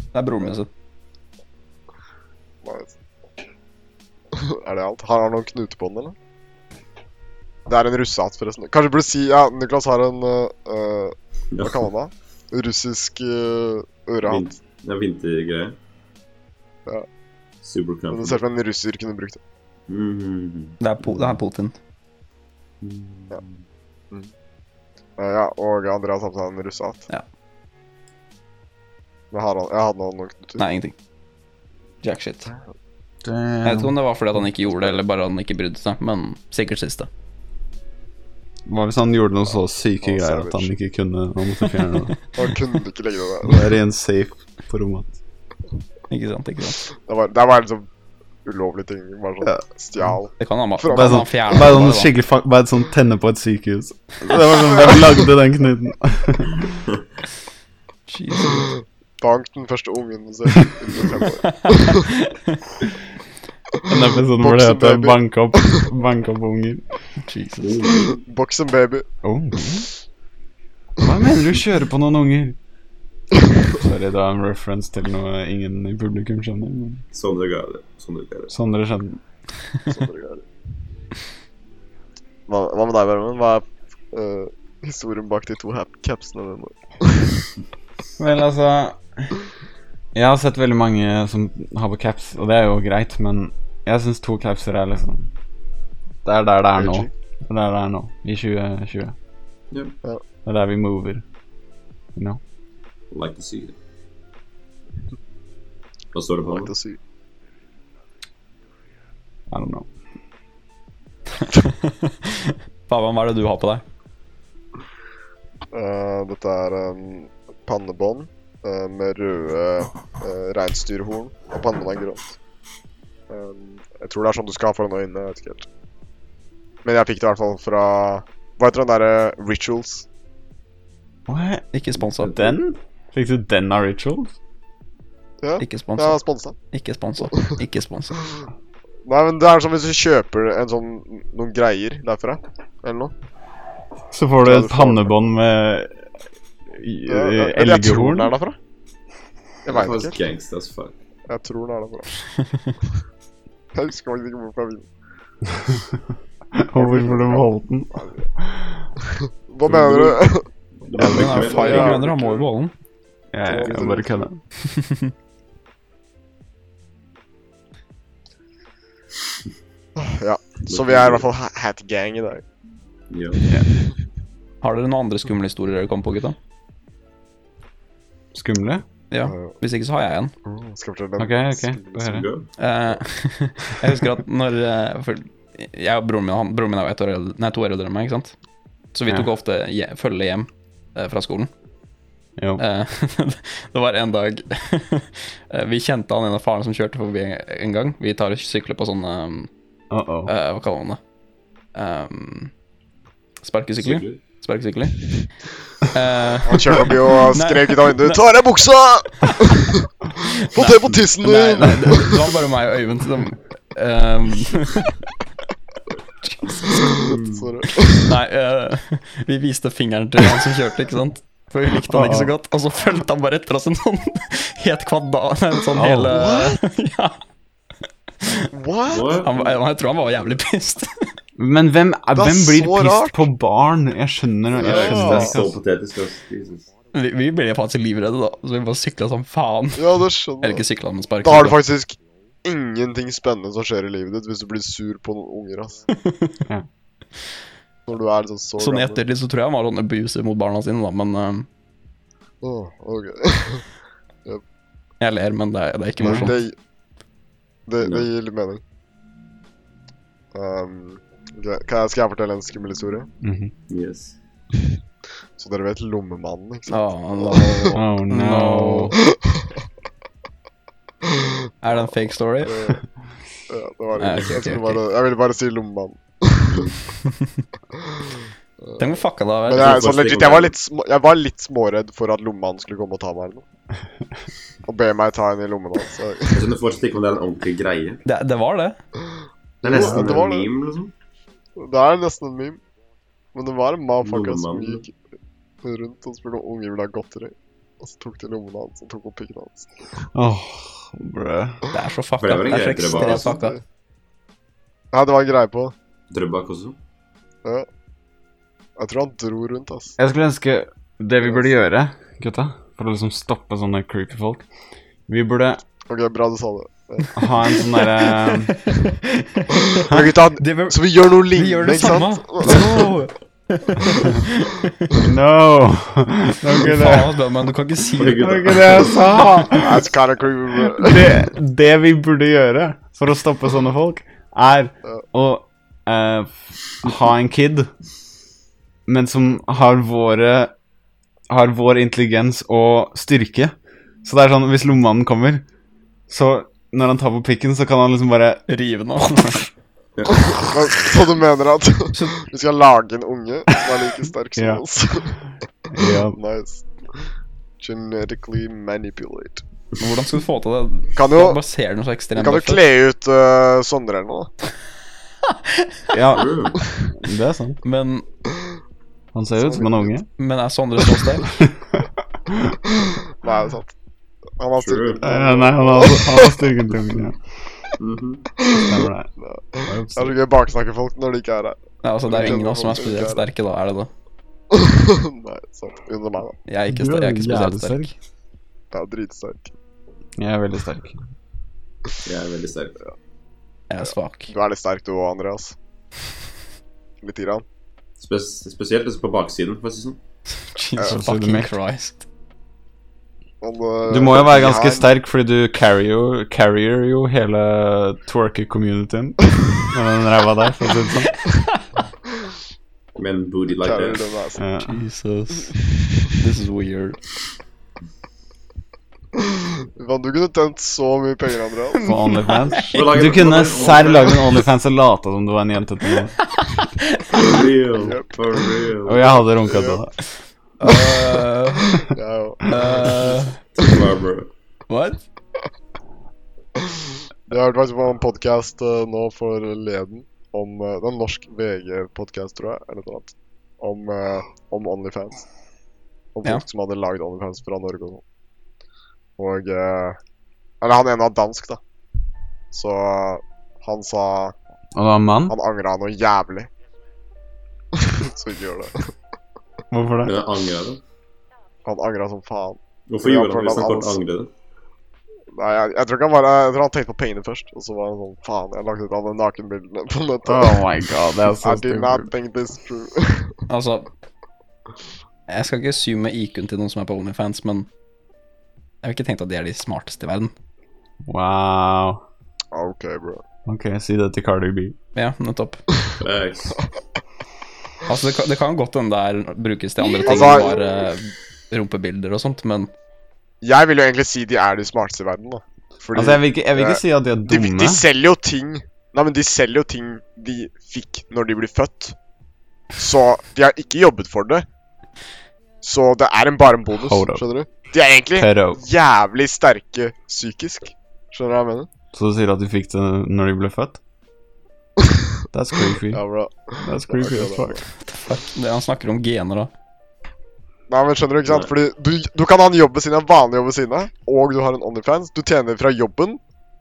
Speaker 5: Det er broren min sin.
Speaker 2: Nice. er det alt? Har han noen knute på den, eller? Det er en russehatt, forresten. Kanskje du burde si Ja, Niklas har en uh, uh, Hva
Speaker 4: Ja.
Speaker 2: kaller man det? Russisk uh, ørehatt.
Speaker 4: Vin- Det er vintergreie.
Speaker 2: Ja. Men Det
Speaker 4: Supercomfort.
Speaker 2: ser ut som en russer kunne brukt det.
Speaker 4: Mhm.
Speaker 5: Det er, po det er Putin.
Speaker 2: Eh, ja, og Andreas har på seg en russehatt.
Speaker 5: Ja.
Speaker 2: Men har han, jeg hadde noen noen knuter.
Speaker 5: Nei, ingenting. Jack shit. Jeg vet ikke om det var fordi at han ikke gjorde det, eller bare han ikke brydde seg, men sikkert siste.
Speaker 3: Hva hvis han gjorde noen så syke
Speaker 2: Å,
Speaker 3: greier at han
Speaker 2: savage.
Speaker 3: ikke kunne Han måtte fjerne det?
Speaker 2: Han kunne ikke legge det der.
Speaker 3: Det er i en safe på rommet.
Speaker 5: Ikke sant, ikke sant.
Speaker 2: Det var, det var liksom ulovlige ting. Bare sånn
Speaker 3: Ja.
Speaker 2: stjal.
Speaker 5: Det kan han, ba-
Speaker 2: Fra-
Speaker 5: kan
Speaker 3: Bare
Speaker 5: han
Speaker 3: sånn,
Speaker 5: fjerne.
Speaker 3: bare sånn
Speaker 5: bare, da.
Speaker 3: skikkelig fuck, bare sånn tenne på et sykehus. Det var sånn, Hvem lagde den knuten?
Speaker 5: Jesus.
Speaker 2: Bank den første ungen du ser. under fem år.
Speaker 3: Den episoden hvor det
Speaker 2: Voksen
Speaker 3: heter
Speaker 2: baby.
Speaker 3: 'Bank opp, bank opp unger'.
Speaker 5: Jesus.
Speaker 2: Box and baby.
Speaker 3: Oh. Hva mener du kjører på noen unger? Sorry, det var en reference til noe ingen i publikum skjønner. Men
Speaker 4: Sondre ga Sånn det. Sondre ga det.
Speaker 3: Sondre skjønner.
Speaker 2: Sånn dere gjør det. Hva, hva med deg, Vermen? Hva er eh, historien bak de to hap- capsene dine?
Speaker 3: Vel, altså Jeg har sett veldig mange som har på caps, og det er jo greit, men jeg syns to capser er liksom Det er der det er nå. Det er der det er nå, i 2020.
Speaker 4: Ja.
Speaker 2: Ja.
Speaker 3: Det er der vi mover. You know?
Speaker 4: Like to see it. Hva står det på
Speaker 2: Like
Speaker 4: den?
Speaker 2: to see.
Speaker 3: I don't know.
Speaker 5: Fabian, hva er det du har på deg?
Speaker 2: Eh, dette er em, pannebånd eh, med røde uh, reinsdyrhorn, og pannen er grått. Em, jeg tror det er sånn du skal ha foran øynene. jeg vet ikke helt. Men jeg fikk det i hvert fall fra Hva heter den derre Rituals?
Speaker 3: What?
Speaker 5: Ikke sponsa.
Speaker 3: Den? Fikk du den av rituals?
Speaker 2: Ja,
Speaker 5: Ikke
Speaker 2: jeg
Speaker 5: sponsa.
Speaker 2: har sponsa.
Speaker 5: Ikke sponsa. Ikke sponsa.
Speaker 2: Nei, men det er som hvis du kjøper en sånn, noen greier derfra, eller noe.
Speaker 3: Så får du
Speaker 2: Ja, du
Speaker 3: et
Speaker 2: får-
Speaker 3: pannebånd med eh, i-
Speaker 2: Ja,
Speaker 3: i-
Speaker 2: ja, eller jeg tror den
Speaker 3: elghorn.
Speaker 2: er derfra. Jeg
Speaker 4: Det er
Speaker 2: veit ikke.
Speaker 4: faktisk gangsta as fuck.
Speaker 2: Jeg tror den er derfra. Jeg husker faktisk ikke hvorfor jeg vil.
Speaker 3: Og hvorfor du beholdt den?
Speaker 2: Hva mener du?
Speaker 3: Jeg vil
Speaker 5: Han er
Speaker 3: ikke
Speaker 5: jo
Speaker 2: fire.
Speaker 5: firing runner, han må jo beholde den.
Speaker 3: Jeg, jeg bare kødder.
Speaker 2: Ja, så vi er i hvert fall ha- hat gang i dag.
Speaker 4: Ja.
Speaker 5: Har dere noen andre skumle historier dere kom på, gutta?
Speaker 3: Skumle?
Speaker 5: Ja.
Speaker 2: Uh,
Speaker 5: Hvis ikke, så har jeg en.
Speaker 2: mm, skal jeg fortelle den?
Speaker 3: Ok, ok. Få høre.
Speaker 4: Go.
Speaker 5: Eh, jeg husker at når eh, for Jeg og broren min han, broren min er jo ett år eldre, nei, to år eldre enn meg, ikke sant? Så vi tok
Speaker 3: Ja.
Speaker 5: ofte je, følge hjem eh, fra skolen.
Speaker 3: Jo.
Speaker 5: Eh, det var en dag eh, Vi kjente han ene faren som kjørte forbi en gang. Vi tar og sykler på sånne
Speaker 3: Uh -oh.
Speaker 5: eh, Hva kaller man det? Um, sparkesykler?
Speaker 4: Sykler.
Speaker 5: Sparkesykler. Eh,
Speaker 2: Han kjørte opp i
Speaker 5: Nei.
Speaker 2: og skrek ut av vinduet 'Ta av deg buksa!' 'Få te på tissen
Speaker 5: Nei,
Speaker 2: din!'
Speaker 5: nei, det, det var bare meg og Øyvind som ehm,
Speaker 2: Sorry.
Speaker 5: Nei, eh, vi viste fingeren til han som kjørte, ikke sant? For vi likte han ikke så godt. Og så fulgte han bare etter oss en sånn het kvadrat Nei, en sånn hele ja,
Speaker 2: What?
Speaker 4: What?
Speaker 5: han, var- jeg tror han var jævlig pissed.
Speaker 3: Men hvem, er,
Speaker 2: Det er
Speaker 3: hvem blir
Speaker 2: så
Speaker 3: pissed
Speaker 2: rart.
Speaker 3: på barn? Jeg skjønner jeg
Speaker 4: Det er
Speaker 3: skjønner det ikke.
Speaker 4: ikke eh, så
Speaker 3: altså.
Speaker 4: patetisk, ass. Jesus.
Speaker 5: Vi, vi ble faktisk livredde, da. Så vi bare sykla som faen.
Speaker 2: Ja, det
Speaker 5: Eller
Speaker 2: skjønner
Speaker 5: ikke
Speaker 2: jeg.
Speaker 5: sykla, men sparka.
Speaker 2: Da har du faktisk ingenting spennende som skjer i livet ditt hvis du blir sur på noen unger, ass.
Speaker 3: Ja.
Speaker 2: Når du er liksom så
Speaker 5: Sånn i
Speaker 2: gammel.
Speaker 5: ettertid så tror jeg han var sånn abusive mot barna sine, da. Men ehm,
Speaker 2: Åh, ok.
Speaker 5: jeg ler, men det er, det er ikke
Speaker 2: Men
Speaker 5: morsomt.
Speaker 2: det, det, det gir litt mening. Um, ok, kan jeg, skal jeg fortelle en skummel historie?
Speaker 3: Mhm.
Speaker 4: Yes.
Speaker 2: Så dere vet Lommemannen, ikke sant?
Speaker 4: Ah,
Speaker 5: Åh, no.
Speaker 3: Oh no.
Speaker 5: No. Er det en fake story?
Speaker 2: Det, ja, det var
Speaker 5: Nei,
Speaker 2: det.
Speaker 5: ok,
Speaker 2: Jeg, skulle
Speaker 5: ok,
Speaker 2: bare, jeg ville bare si Lommemannen.
Speaker 5: Den ble fucka da.
Speaker 2: Men
Speaker 5: vel?
Speaker 2: jeg, sånn legit, jeg var litt, små, jeg var litt småredd for at Lommemannen skulle komme og ta meg eller noe. Og be meg ta en i lommen hans. så-
Speaker 4: Jeg skjønner fortsatt Altså, ikke om det er en ordentlig greie.
Speaker 5: Det, det var det.
Speaker 4: Det er
Speaker 2: Ja,
Speaker 4: nesten
Speaker 2: det var
Speaker 4: en
Speaker 2: det.
Speaker 4: meme, liksom.
Speaker 2: Det er nesten en meme. Men det var en motherfucker som
Speaker 4: Lommemannen.
Speaker 2: gikk rundt og spurte om unger ville ha godteri. Og så tok de lommene hans og tok opp pikken hans.
Speaker 3: Åh, brø.
Speaker 5: Det er så
Speaker 4: For
Speaker 5: fucka.
Speaker 4: det var en
Speaker 5: Det er så
Speaker 4: greie, det var
Speaker 5: ekstremt
Speaker 4: altså.
Speaker 5: fucka.
Speaker 2: Nei, sånn- det var en greie på.
Speaker 4: Drøbak også.
Speaker 2: Jeg tror han dro rundt, ass.
Speaker 3: Jeg skulle ønske det vi burde gjøre, gutta, for å liksom stoppe sånne creepy folk Vi burde
Speaker 2: Ok, bra du sa det.
Speaker 3: ha en sånn derre
Speaker 2: Men gutta,
Speaker 5: Det var-
Speaker 2: så vi gjør noe
Speaker 5: Vi gjør
Speaker 2: lignende,
Speaker 5: det
Speaker 2: ikke
Speaker 5: samme.
Speaker 2: sant?
Speaker 5: No!
Speaker 3: No! Det var ikke det,
Speaker 5: Faen, Bøhman, du kan ikke si
Speaker 4: Oi,
Speaker 5: det.
Speaker 3: det, var
Speaker 4: gutta.
Speaker 3: ikke det jeg sa!
Speaker 2: That's kinda creepy, bro.
Speaker 3: Det, det vi burde gjøre for å stoppe sånne folk, er å eh, ha en kid, men som har våre Har vår intelligens og styrke. Så det er sånn, hvis lommemannen kommer, så når han tar på pikken, så kan han liksom bare
Speaker 5: Rive den av.
Speaker 2: Men, Så du mener at vi skal lage en unge som er like sterk som
Speaker 3: Ja.
Speaker 2: oss?
Speaker 3: Ja.
Speaker 2: Nice. Genetically manipulate.
Speaker 5: Hvordan skal du få til det?
Speaker 2: Kan
Speaker 5: Du
Speaker 2: jo,
Speaker 5: bare ser den så ekstremt
Speaker 2: kan jo
Speaker 5: tøff ut.
Speaker 2: kle ut eh, Sondre eller noe. da.
Speaker 3: ja
Speaker 4: Mm.
Speaker 3: det er sant.
Speaker 5: Men,
Speaker 3: Han ser ut som en unge.
Speaker 5: men er Sondre så sterk?
Speaker 2: Nei, det er sant. Han har
Speaker 4: True.
Speaker 2: styrken.
Speaker 3: Eh, nei, han har, han har styrken til ungen, ja.
Speaker 4: Mhm.
Speaker 3: Stemmer det.
Speaker 2: Det er så gøy å baksnakke folk når de ikke er her.
Speaker 5: Nei, altså, det er jo ingen av oss som er spesielt sterke, da. Er det det?
Speaker 2: Nei, sant. Under meg, da.
Speaker 5: Jeg er ikke, sta- jeg er ikke spesielt sterk.
Speaker 2: Jeg er dritsterk.
Speaker 3: Jeg er veldig sterk.
Speaker 4: Jeg er veldig sterk.
Speaker 5: Jeg er svak.
Speaker 2: Du er litt sterk du òg, Andreas. Litt grann.
Speaker 4: Spes spesielt liksom på baksiden, for å si det sånn.
Speaker 5: Jesus
Speaker 3: absolutt
Speaker 5: fucking
Speaker 3: mildt.
Speaker 5: Christ.
Speaker 2: Men, eh,
Speaker 3: Du må jo være ganske
Speaker 2: jeg-
Speaker 3: sterk, fordi du carrier jo, carrier jo hele twerker-communityen. Med den ræva der, for å si det sånn.
Speaker 4: Med en booty like
Speaker 2: Kjære,
Speaker 4: that.
Speaker 2: den er sånn.
Speaker 3: Ja.
Speaker 5: Jesus. This is weird.
Speaker 2: Faen, Du kunne tjent så mye penger, Andreas.
Speaker 3: På OnlyFans.
Speaker 4: Hvor lager
Speaker 3: Du kunne
Speaker 4: hvor lager-
Speaker 3: serr lage en OnlyFans og late som du var en jente til meg.
Speaker 4: For real. For real.
Speaker 3: Og jeg hadde runka til deg.
Speaker 5: Uh,
Speaker 2: Jeg er jo-
Speaker 5: uh,
Speaker 4: Take my bro.
Speaker 5: what?
Speaker 2: Jeg hørte faktisk på en podkast nå forleden om eh, Det er en norsk VG-podkast, tror jeg, eller noe annet. Om, eh, om Onlyfans. Om folk
Speaker 5: Ja.
Speaker 2: som hadde lagd Onlyfans fra Norge og sånn. Og eh, Eller han ene var dansk, da. Så eh, han sa
Speaker 3: Og du var en mann?
Speaker 2: Han angra noe jævlig. Så ikke gjør det.
Speaker 3: Hvorfor
Speaker 4: Men
Speaker 3: det?
Speaker 4: jeg angra det.
Speaker 2: Han angra som faen.
Speaker 4: Hvorfor
Speaker 2: Ja,
Speaker 4: gjorde
Speaker 2: for
Speaker 4: han det hvis han
Speaker 2: han-
Speaker 4: kort angret det?
Speaker 2: Nei, jeg, jeg tror ikke han bare Jeg tror han tenkte på pengene først, og så var han sånn Faen, jeg har lagt ut alle nakenbildene på nettet.
Speaker 3: Oh my god, det er så
Speaker 2: I did not
Speaker 3: stupid.
Speaker 2: think this through.
Speaker 5: Altså Jeg skal ikke zoome IQ-en til noen som er på OnlyFans, men jeg vil ikke tenkt at de er de smarteste i verden.
Speaker 3: Wow.
Speaker 2: OK, bro.
Speaker 3: Ok, si det til Cardi B.
Speaker 5: Ja, nettopp.
Speaker 4: Facts.
Speaker 5: Altså, det kan, det kan godt hende det er- brukes til andre ting enn
Speaker 2: Altså-
Speaker 5: bare rumpebilder og sånt, men
Speaker 2: Jeg vil jo egentlig si de er de smarteste i verden, da. Fordi
Speaker 3: Altså, jeg vil ikke, jeg vil ikke
Speaker 2: Eh,
Speaker 3: si at de er
Speaker 2: de, de
Speaker 3: dumme.
Speaker 2: selger jo ting Nei, men de selger jo ting de fikk når de blir født. Så de har ikke jobbet for det. Så det er en bare en bonus,
Speaker 3: Hold up.
Speaker 2: skjønner du. De er egentlig
Speaker 3: Pedo.
Speaker 2: jævlig sterke psykisk. Skjønner du hva jeg mener?
Speaker 3: Så du sier at de fikk det når de ble født? That's creepy.
Speaker 2: Ja, bra.
Speaker 3: That's creepy as fuck.
Speaker 5: fuck, det han snakker om gener og
Speaker 2: Nei, men skjønner du ikke sant? Fordi du, du kan ha en jobb ved siden av, vanlig jobb ved siden av, og du har en Onlyfans. Du tjener fra jobben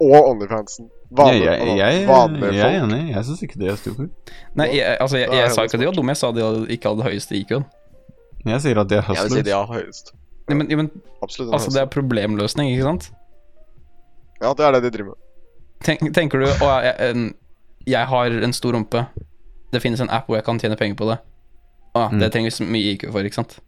Speaker 2: og Onlyfansen.
Speaker 3: Jeg,
Speaker 2: Vanlig,
Speaker 3: jeg, jeg,
Speaker 2: vanlige
Speaker 3: jeg er
Speaker 2: folk.
Speaker 3: enig. Jeg syns ikke de er stupid.
Speaker 5: Nei, jeg, altså, jeg,
Speaker 2: Da er
Speaker 5: jeg
Speaker 2: det
Speaker 5: sa ikke at de
Speaker 2: smart.
Speaker 5: var dumme, jeg sa de hadde- ikke hadde høyeste IQ-en.
Speaker 3: Jeg sier at de er
Speaker 2: Jeg vil si de
Speaker 3: hustlers.
Speaker 2: har høyest.
Speaker 5: Nei, Men, ja, men
Speaker 2: Absolutt. den
Speaker 5: altså, det
Speaker 2: høyeste.
Speaker 5: er problemløsning, ikke sant?
Speaker 2: Ja, det er det de driver med.
Speaker 5: Tenk, tenker du å, jeg, en- jeg har en stor rumpe, det finnes en app hvor jeg kan tjene penger på det. Å,
Speaker 3: Mm.
Speaker 5: Det trenges mye IQ for, ikke sant?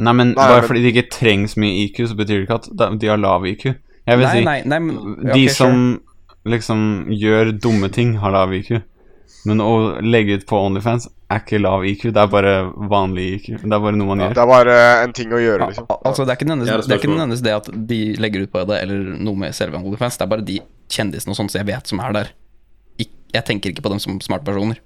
Speaker 3: Nei, men
Speaker 2: Nei,
Speaker 3: bare
Speaker 2: men-
Speaker 3: fordi de ikke trengs mye IQ, så betyr det ikke at de- de har lav IQ. Jeg vil
Speaker 5: Nei,
Speaker 3: si
Speaker 5: nei, nei, men ja,
Speaker 3: De
Speaker 5: ok, sure.
Speaker 3: som liksom gjør dumme ting, har lav IQ. Men å legge ut på Onlyfans er ikke lav IQ, det er bare vanlig IQ. Det er bare noe man gjør.
Speaker 2: Det er bare en ting å gjøre, liksom.
Speaker 5: Al- al- Altså, det er ikke
Speaker 4: Jeg har
Speaker 5: nødvendigvis
Speaker 4: et
Speaker 5: det, er ikke
Speaker 4: spørsmål.
Speaker 5: nødvendigvis det at de legger ut på det, eller noe med selve OnlyFans. Det er bare de kjendisene og sånt som jeg vet som er der. Ik jeg tenker ikke på dem som smarte personer.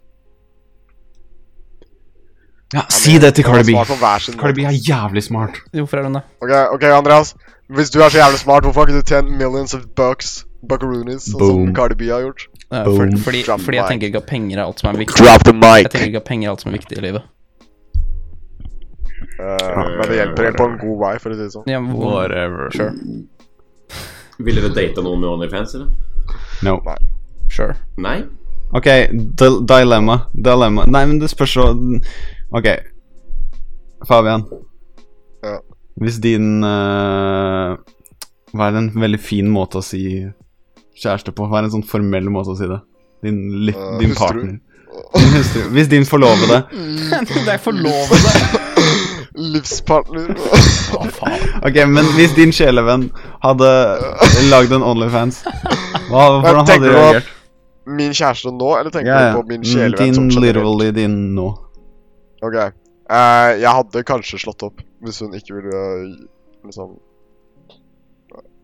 Speaker 3: Ja, si det til Cardi B.
Speaker 2: Smak på hver sin
Speaker 3: Cardi B
Speaker 2: måte.
Speaker 3: er jævlig smart.
Speaker 5: Hvorfor er hun det?
Speaker 2: Ok, ok, Andreas. Hvis du er så jævlig smart, hvorfor har ikke du tjent millions of bucks? Buckaroonies, sånn som
Speaker 3: Boom.
Speaker 2: Cardi B har gjort.
Speaker 5: Eh, for,
Speaker 3: Boom.
Speaker 5: fordi,
Speaker 2: Drop
Speaker 5: fordi jeg
Speaker 2: mic.
Speaker 5: tenker ikke at penger er alt som er viktig.
Speaker 2: Drop the
Speaker 5: Jeg
Speaker 2: mic!
Speaker 5: tenker ikke at penger er alt som er viktig i livet.
Speaker 2: Eh, men det hjelper på en god vei, for å si det sånn.
Speaker 5: Ja, men hvor-
Speaker 3: Whatever.
Speaker 5: Sure,
Speaker 4: Ville dere data noen med OnlyFans, eller?
Speaker 3: No.
Speaker 5: sure.
Speaker 4: Nei?
Speaker 3: Ok, dil- dilemma. Dilemma. Nei, men det spørs så Ok. Fabian.
Speaker 2: Ja.
Speaker 3: Hvis din eh, Hva er en veldig fin måte å si kjæreste på? Hva er en sånn formell måte å si det? Din, litt,
Speaker 2: Eh,
Speaker 3: din
Speaker 2: hustru.
Speaker 3: partner. Din hustru. Hvis din forlovede
Speaker 5: Mm, det er forlovede!
Speaker 2: Livspartner.
Speaker 5: Hva faen?
Speaker 3: Ok, men hvis din sjelevenn hadde lagd en Onlyfans, hva, hvordan hadde
Speaker 2: tenker
Speaker 3: du
Speaker 2: du at-
Speaker 3: reagert?
Speaker 2: Min kjæreste nå, eller tenker
Speaker 3: Ja, ja.
Speaker 2: du på min
Speaker 3: Mm,
Speaker 2: sjelevenn
Speaker 3: Din
Speaker 2: som generelt?
Speaker 3: literally din nå.
Speaker 2: Ok. Eh, jeg hadde kanskje slått opp hvis hun ikke ville eh, liksom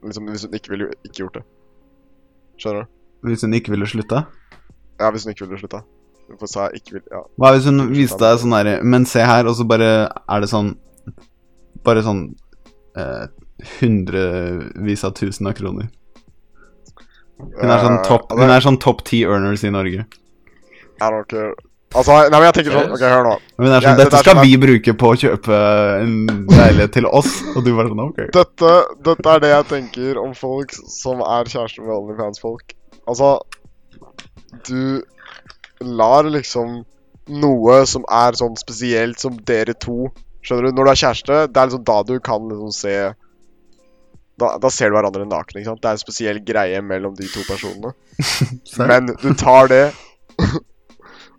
Speaker 2: Liksom hvis hun ikke ville ikke gjort det. Skjønner du?
Speaker 3: Hvis hun ikke ville slutte?
Speaker 2: Ja, hvis hun ikke ville slutta. Hvorfor sa jeg ikke vil Ja.
Speaker 3: Hva hvis hun viste deg sånn derre Men se her, og så bare er det sånn Bare sånn eh, Hundrevis av tusen av kroner. Hun er sånn
Speaker 2: Eh,
Speaker 3: topp
Speaker 2: altså,
Speaker 3: Hun er sånn topp ti earners i Norge.
Speaker 2: I don't care. Altså, nei, men jeg tenker sånn Ok, hør nå.
Speaker 3: Hun er
Speaker 2: Ja,
Speaker 3: sånn
Speaker 2: det
Speaker 3: Dette
Speaker 2: der
Speaker 3: skal
Speaker 2: som er-
Speaker 3: vi bruke på å kjøpe en leilighet til oss. Og du bare sånn Ok.
Speaker 2: Dette, dette er det jeg tenker om folk som er kjærester med OnlyFans-folk. Altså Du lar liksom noe som er sånn spesielt som dere to Skjønner du? Når du er kjæreste, det er liksom da du kan liksom se Da, da ser du hverandre naken. ikke sant? Det er en spesiell greie mellom de to personene. Men du tar det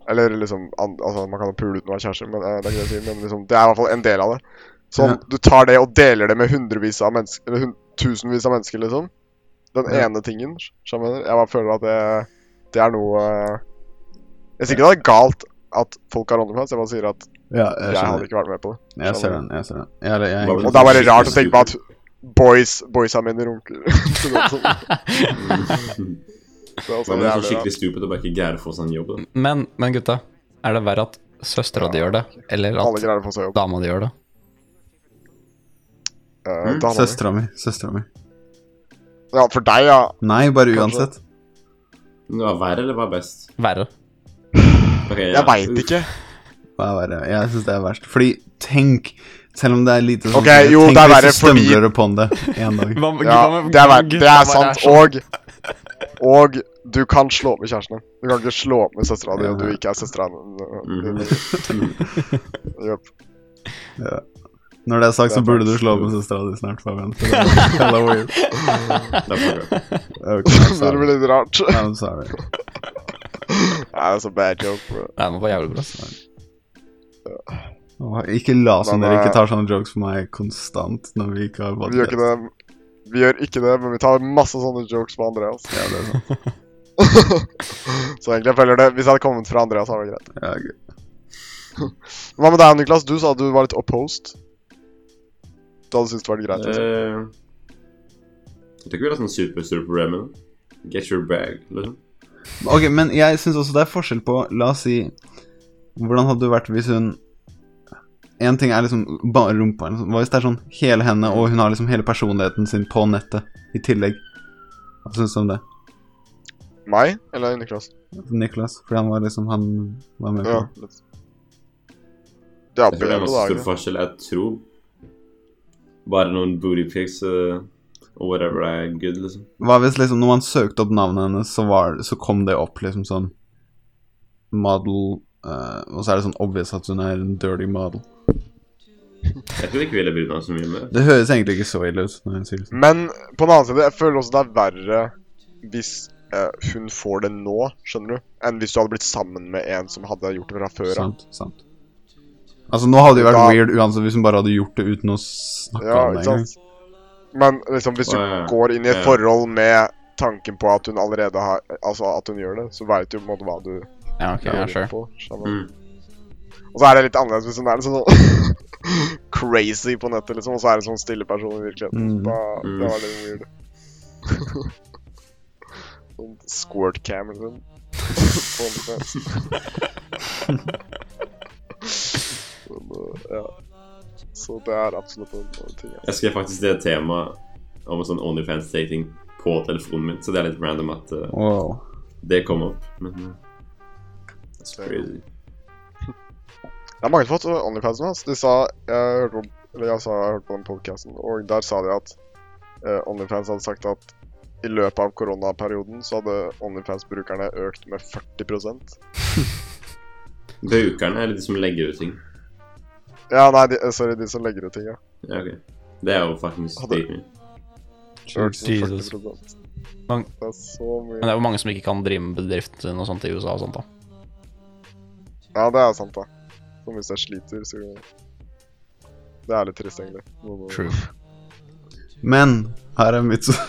Speaker 2: Eller liksom an, altså, Man kan jo pule uten å være kjæreste, men eh, det er ikke det jeg sier. Men liksom, det er i hvert fall en del av det. Sånn,
Speaker 3: Ja.
Speaker 2: Du tar det og deler det med hundrevis av mennesker, eller hun, tusenvis av mennesker, liksom. Den
Speaker 3: Ja.
Speaker 2: ene tingen. sk- skjønner du? Jeg bare føler at det, det er noe eh, Jeg sier ikke det er galt at folk har OnlyFans, jeg bare sier at
Speaker 3: Ja,
Speaker 2: jeg, hadde
Speaker 3: jeg skjønner.
Speaker 2: ikke vært med på det.
Speaker 3: Jeg ser den. Jeg ser den. Jeg, sånn jeg,
Speaker 4: Hva
Speaker 3: jeg,
Speaker 4: vil
Speaker 2: Og det er bare rart å tenke på at boys, boysa mine runker. Så det er sånn- det er også
Speaker 4: Hva med sånn
Speaker 2: jævlig rart.
Speaker 4: skikkelig stupid og bare ikke gære å få seg en jobb? Da?
Speaker 5: Men, men gutta, er det verre at søstera di gjør det, eller
Speaker 2: Alle
Speaker 5: at
Speaker 2: greier å få seg jobb.
Speaker 5: dama di gjør det?
Speaker 2: Eh,
Speaker 4: Mm,
Speaker 2: da hadde vi-
Speaker 3: Søstera mi. Søstera mi.
Speaker 2: Ja, for deg, ja.
Speaker 3: Nei, bare
Speaker 2: Kanskje.
Speaker 3: uansett.
Speaker 4: Men Hva er verre, eller hva er best?
Speaker 5: Verre.
Speaker 4: Okay,
Speaker 2: Jeg veit ikke.
Speaker 3: Hva er verre? Jeg syns det er verst. Fordi tenk, selv om det er lite
Speaker 2: Ok, jo,
Speaker 3: tenk
Speaker 2: det er verre
Speaker 3: hvis du
Speaker 2: fordi-
Speaker 3: stømler upon det en dag.
Speaker 2: Ja, det er, ver- det er sant. Og Og Du kan slå opp med kjæresten din. Du kan ikke slå opp med søstera di om du ikke er søstera hennes. Jep.
Speaker 3: Når det er sagt, så
Speaker 2: Det er
Speaker 3: burde du
Speaker 2: faktisk-
Speaker 3: slå opp med søstera di snart, Fabian. for det er hella weird.
Speaker 4: Det er for gøy.
Speaker 3: Okay, I'm
Speaker 2: Det blir
Speaker 3: sorry.
Speaker 2: litt rart.
Speaker 3: I'm sorry.
Speaker 2: Nei, det er så bad joke, bro.
Speaker 5: Nei, det var jævlig bra. ass.
Speaker 3: Åh, Ikke la som
Speaker 2: Men,
Speaker 3: dere ikke
Speaker 2: eh,
Speaker 3: tar sånne jokes for meg konstant når vi ikke har
Speaker 2: Vi gjør ikke det. Vi gjør ikke det, men vi tar masse sånne jokes på Andreas.
Speaker 3: Ja, det er sant.
Speaker 2: Så egentlig jeg føler det Hvis jeg hadde kommet fra Andreas, hadde det vært greit.
Speaker 3: Ja, ok.
Speaker 2: Hva med deg, Niklas? Du sa at du var litt opposed. Du hadde syntes det var greit. Liksom.
Speaker 4: Eh, Jeg tror ikke vi har sånn superstore problem med det. Get your bag, liksom.
Speaker 3: ok, men jeg syns også det er forskjell på La oss si Hvordan hadde det vært hvis hun En ting er liksom bare rumpa. eller noe sånt. Hva hvis det er sånn hele henne, og hun har liksom hele personligheten sin på nettet i tillegg? Hva syns du om det,
Speaker 2: Meg eller Niklas?
Speaker 3: Niklas? Fordi han var liksom Han var med på
Speaker 2: Ja.
Speaker 3: det.
Speaker 2: litt. Det er
Speaker 4: Jeg tror det er
Speaker 2: bedre,
Speaker 4: masse
Speaker 2: da.
Speaker 4: stor
Speaker 2: ikke?
Speaker 4: forskjell. Jeg tror bare noen booty pics eh, og whatever er good, liksom.
Speaker 3: Hva hvis liksom når man søkte opp navnet hennes, så, var, så kom det opp liksom sånn Model eh, Og så er det sånn obvious at hun er en dirty model.
Speaker 4: Jeg tror ikke vi ville brydd meg så mye med det.
Speaker 3: Det høres egentlig ikke så ille ut. når jeg sier det sånn.
Speaker 2: Men på den annen side, jeg føler også det er verre hvis eh, hun får det nå, skjønner du, enn hvis du hadde blitt sammen med en som hadde gjort det fra før av.
Speaker 3: Sant, sant. Altså, nå hadde det vært
Speaker 2: Da-
Speaker 3: weird uansett hvis hun bare hadde gjort det uten å
Speaker 2: Ja,
Speaker 3: snakke om det.
Speaker 2: ikke
Speaker 3: engang.
Speaker 2: sant? Men liksom, hvis du
Speaker 4: Ja, ja, ja.
Speaker 2: går inn i et
Speaker 4: Ja.
Speaker 2: forhold med tanken på at hun allerede har Altså at hun gjør det, så veit du på en måte hva du
Speaker 5: Ja, ok, ja, sure.
Speaker 2: på. skjønner
Speaker 4: Mm.
Speaker 2: du? Og så er det litt annerledes hvis hun er litt sånn crazy på nettet, liksom, og så er det sånn stille person i virkeligheten.
Speaker 3: Mm.
Speaker 2: Da,
Speaker 4: Mm.
Speaker 2: det var litt weird. sånn squirt cam, liksom. på OnlyFans. Men, uh, ja. Så det er absolutt en en ting. Ja.
Speaker 4: Jeg skrev faktisk det temaet om sånn OnlyFans-dating på telefonen min, så det er litt random at eh,
Speaker 3: Wow.
Speaker 4: det kom opp. Men eh, that's crazy.
Speaker 2: Det er mange som har fått OnlyFans nå. ass. De sa Jeg hørte på, eller jeg sa, jeg hørte på den podcasten, og der sa de at eh, OnlyFans hadde sagt at i løpet av koronaperioden så hadde OnlyFans-brukerne økt med 40
Speaker 4: Brukerne er de som legger ut ting.
Speaker 2: Ja, nei, de, eh, sorry, de som legger ut ting, ja.
Speaker 4: Ja, ok. Det er jo fuckings
Speaker 2: Hadde-
Speaker 4: dating.
Speaker 2: Økt med
Speaker 5: Jesus.
Speaker 2: 40%.
Speaker 5: Mang-
Speaker 2: Det er så
Speaker 5: Men det
Speaker 2: mye.
Speaker 5: er jo mange som ikke kan drive med bedriften sin og sånt i USA og sånt, da.
Speaker 2: Ja, det er sant, da. Som hvis jeg sliter, så Det er litt trist, egentlig. Nå- nå-
Speaker 5: True.
Speaker 3: Men her er mitt Her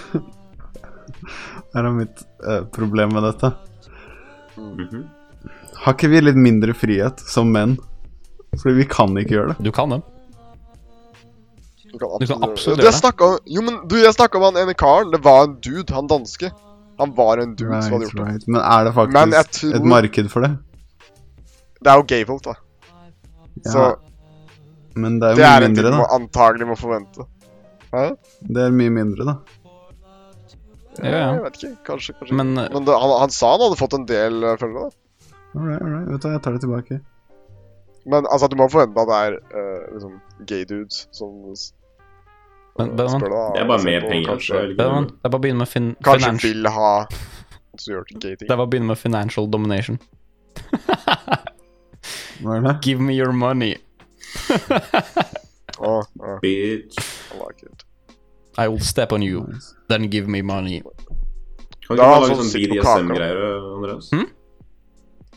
Speaker 3: er mitt eh, problem med dette.
Speaker 2: Mm.
Speaker 4: Mhm.
Speaker 3: Har ikke vi litt mindre frihet som menn? Fordi vi kan ikke gjøre det.
Speaker 5: Du kan det.
Speaker 2: Du kan
Speaker 5: Du kan absolutt
Speaker 2: det.
Speaker 5: gjøre det.
Speaker 2: snakket om- Jo, men du, jeg snakka om han ene karen. Det var en dude, han danske. Han var en dude som hadde
Speaker 3: Right,
Speaker 2: gjort det.
Speaker 3: right. Men er det
Speaker 2: Men jeg
Speaker 3: faktisk
Speaker 2: tror-
Speaker 3: et marked for det?
Speaker 2: Det er jo gay folk, da.
Speaker 3: Ja,
Speaker 2: Så
Speaker 3: men det er jo
Speaker 2: det er
Speaker 3: mye
Speaker 2: en ting
Speaker 3: mindre,
Speaker 2: man
Speaker 3: da.
Speaker 2: antagelig må forvente.
Speaker 3: Det er mye mindre, da.
Speaker 5: Ja, ja.
Speaker 2: Jeg vet ikke. Kanskje. kanskje. Men,
Speaker 5: Men eh,
Speaker 2: det, han, han sa han hadde fått en del eh, følgere. da.
Speaker 3: All right, all right. Vet du, hva, jeg tar det tilbake.
Speaker 2: Men altså, du må forvente at det er eh, liksom gay dudes som s-
Speaker 5: Men Benjamin,
Speaker 2: spør deg. da, liksom,
Speaker 4: Det er bare
Speaker 2: og ser
Speaker 4: mer
Speaker 2: på,
Speaker 4: penger. så
Speaker 2: Kanskje,
Speaker 4: er det ikke
Speaker 5: Benjamin,
Speaker 4: noe-
Speaker 5: det er bare å begynne med fin
Speaker 2: kanskje
Speaker 5: finans-
Speaker 2: vil ha Så gjør det gay ting.
Speaker 5: Det er bare å begynne med financial domination.
Speaker 3: Hva er det?
Speaker 5: Give me your money.
Speaker 2: Å, å,
Speaker 4: Bitch.
Speaker 2: han var kult.
Speaker 5: I will step on you, then give me money.
Speaker 4: Kan
Speaker 2: Da
Speaker 4: du ikke
Speaker 2: har
Speaker 4: bare
Speaker 2: han
Speaker 4: lage
Speaker 2: sånn
Speaker 4: sånn
Speaker 2: sitt på kaka.
Speaker 4: BDSM-greier, Andreas?
Speaker 5: Hm?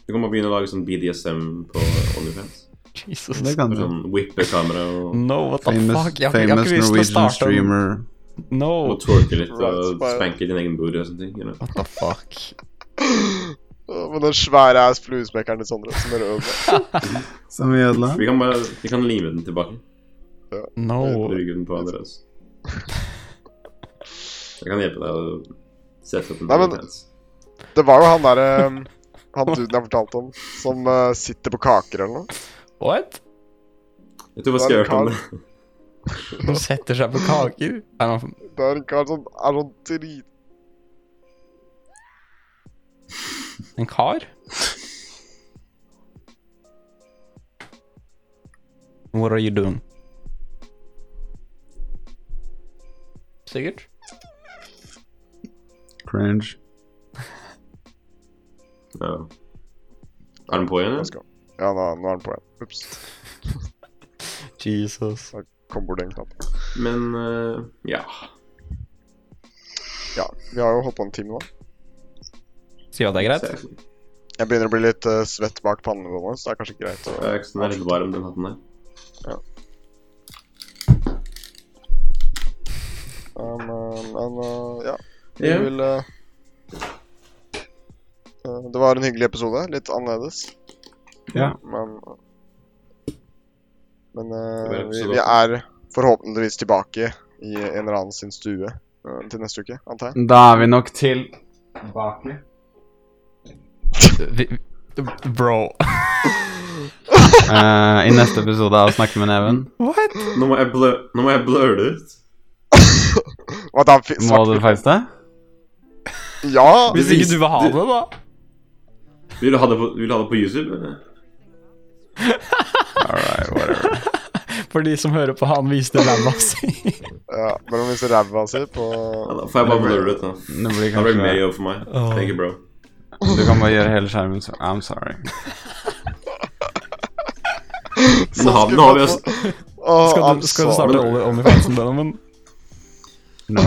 Speaker 4: Du kan bare begynne å lage sånn BDSM på OnlyFans.
Speaker 5: Jesus.
Speaker 3: Det kan
Speaker 4: Med
Speaker 3: du.
Speaker 4: Sånn whippekamera og,
Speaker 5: No, what the
Speaker 3: Famous,
Speaker 5: fuck? Jeg har, ikke- jeg har
Speaker 3: famous
Speaker 5: ikke lyst til å starte
Speaker 3: Norwegian
Speaker 5: en
Speaker 3: streamer.
Speaker 5: No.
Speaker 4: og twerke litt
Speaker 2: Right,
Speaker 4: og
Speaker 2: bare-
Speaker 4: spanke din egen booty og sånne ting. You know?
Speaker 5: What the fuck?
Speaker 2: Å, Men den svære ass fluesmekkeren til Sondre som er rød.
Speaker 3: Som vi ødela.
Speaker 4: Vi kan bare vi kan lime den tilbake.
Speaker 5: No.
Speaker 4: Bruke den på Andreas. Jeg kan hjelpe deg å sette opp en
Speaker 2: Nei, men-
Speaker 4: OnlyFans.
Speaker 2: Det var jo han derre Han duden jeg fortalte om, som eh, sitter på kaker eller noe.
Speaker 5: What?
Speaker 4: Jeg tror faktisk jeg har hørt om det.
Speaker 5: De setter seg på kaker? Er det noe-
Speaker 2: Det er en kar som er sånn drit...
Speaker 5: En kar? What are you doing? Sikkert.
Speaker 3: Cringe.
Speaker 4: Ja. Er den på igjen?
Speaker 2: Let's
Speaker 4: Ja?
Speaker 2: go. Ja, nå, nå er den på igjen. Ups.
Speaker 5: Jesus.
Speaker 2: Kom bort en knapp.
Speaker 4: Men eh, ja.
Speaker 2: Ja, vi har jo holdt på en time nå.
Speaker 5: Sier vi at det er greit?
Speaker 4: Så jeg-
Speaker 2: Jeg begynner å bli litt eh, svett bak pannen nå, så det er kanskje greit å
Speaker 4: Jeg er ikke sånn jeg er litt varm, den hatten der.
Speaker 2: um, um, Men uh, ja, vi
Speaker 4: Ja.
Speaker 2: vil uh, uh, Det var en hyggelig episode. Litt annerledes.
Speaker 3: Ja.
Speaker 2: Men uh, Men
Speaker 4: Det
Speaker 2: uh,
Speaker 4: var
Speaker 2: vi,
Speaker 4: episode
Speaker 2: vi er forhåpentligvis tilbake i en eller annen sin stue uh, til neste uke, antar jeg.
Speaker 3: Da er vi nok tilbake.
Speaker 5: Vi- vi- Bro.
Speaker 3: Eh, I neste episode av Snakke med neven
Speaker 5: What?
Speaker 4: Nå må jeg blø- nå må jeg bløre det ut.
Speaker 2: Hva da, fi-
Speaker 3: må
Speaker 2: svart?
Speaker 3: du faktisk det?
Speaker 2: Ja!
Speaker 5: Hvis ikke du vil ha det, da.
Speaker 4: Vil du ha det på, vil du ha det på YouTube? eller?
Speaker 5: For de som hører på, han viste ræva si.
Speaker 2: ja Mellom disse ræva si på
Speaker 4: Ja, da får jeg bare bløre det ut, da.
Speaker 3: Det blir
Speaker 4: Da blir det mer
Speaker 3: kanskje,
Speaker 4: jobb for meg. Thank you, bro.
Speaker 3: du kan bare gjøre hele skjermen så I'm sorry.
Speaker 4: Nå har, nå har vi oss
Speaker 2: Åh, altså.
Speaker 5: Skal
Speaker 2: I'm
Speaker 5: du, skal du
Speaker 2: sorry.
Speaker 5: starte Only- OnlyFansen, Benjamin?
Speaker 3: No.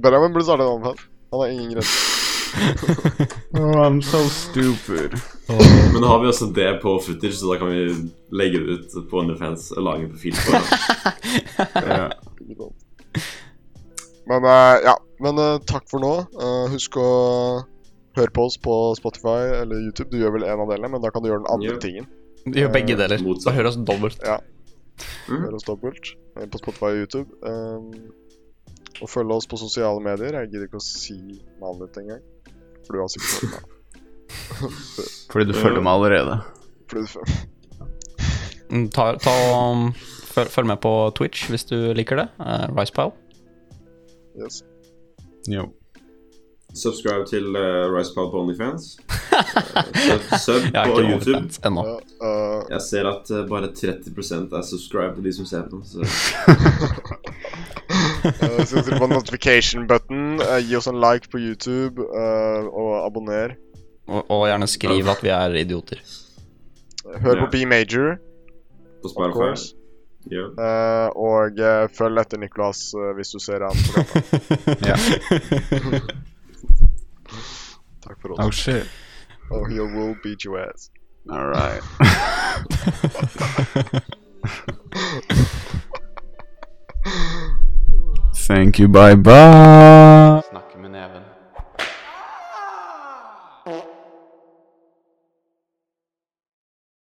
Speaker 2: Benjamin burde starte en omfang. Han har ingen grenser.
Speaker 3: Oh, I'm so stupid.
Speaker 4: Men nå har vi også det på footage, så da kan vi legge det ut på OnlyFans og lage en profil for det.
Speaker 3: Ja.
Speaker 2: Ikke sant. Men eh, ja, men eh, takk for nå. Eh, husk å høre på oss på Spotify eller YouTube. Du gjør vel en av delene, men da kan du gjøre den andre
Speaker 4: Ja.
Speaker 2: tingen.
Speaker 5: Gjør begge deler.
Speaker 4: Motsatt.
Speaker 5: Bare hør oss dobbelt.
Speaker 2: Hør oss dobbelt eh, på Spotify og YouTube. Ehm, og følg oss på sosiale medier. Jeg gidder ikke å si navnet ditt engang. For du har sikkert hørt meg.
Speaker 3: Fordi du følger meg allerede.
Speaker 2: Fordi du
Speaker 5: Mm, Ta, ta um, følg, følg med på Twitch hvis du liker det. Uh, Ricepile.
Speaker 2: Yes.
Speaker 3: Jo.
Speaker 4: Subscribe til uh, Ricepal på OnlyFans. Eh, sub sub
Speaker 5: Jeg er
Speaker 4: på
Speaker 5: ikke
Speaker 4: YouTube.
Speaker 5: OnlyFans ennå.
Speaker 2: Ja, eh,
Speaker 4: Jeg ser at eh, bare 30 er subscribed til de som ser på. Så
Speaker 2: Eh, Så trykk på notification button, eh, gi oss en like på YouTube, eh, og abonner.
Speaker 5: Og, og gjerne skriv at vi er idioter.
Speaker 2: Hør
Speaker 4: Ja.
Speaker 2: på B-major,
Speaker 4: på
Speaker 2: of
Speaker 4: Spotify.
Speaker 2: course.
Speaker 4: Ja.
Speaker 2: Eh, og eh, følg etter Nicolas eh, hvis du ser han. på gata.
Speaker 3: Ja.
Speaker 2: Takk for
Speaker 3: Oh
Speaker 2: oss.
Speaker 3: shit.
Speaker 2: Oh, he will beat your ass.
Speaker 3: All right. Thank you. Bye bye.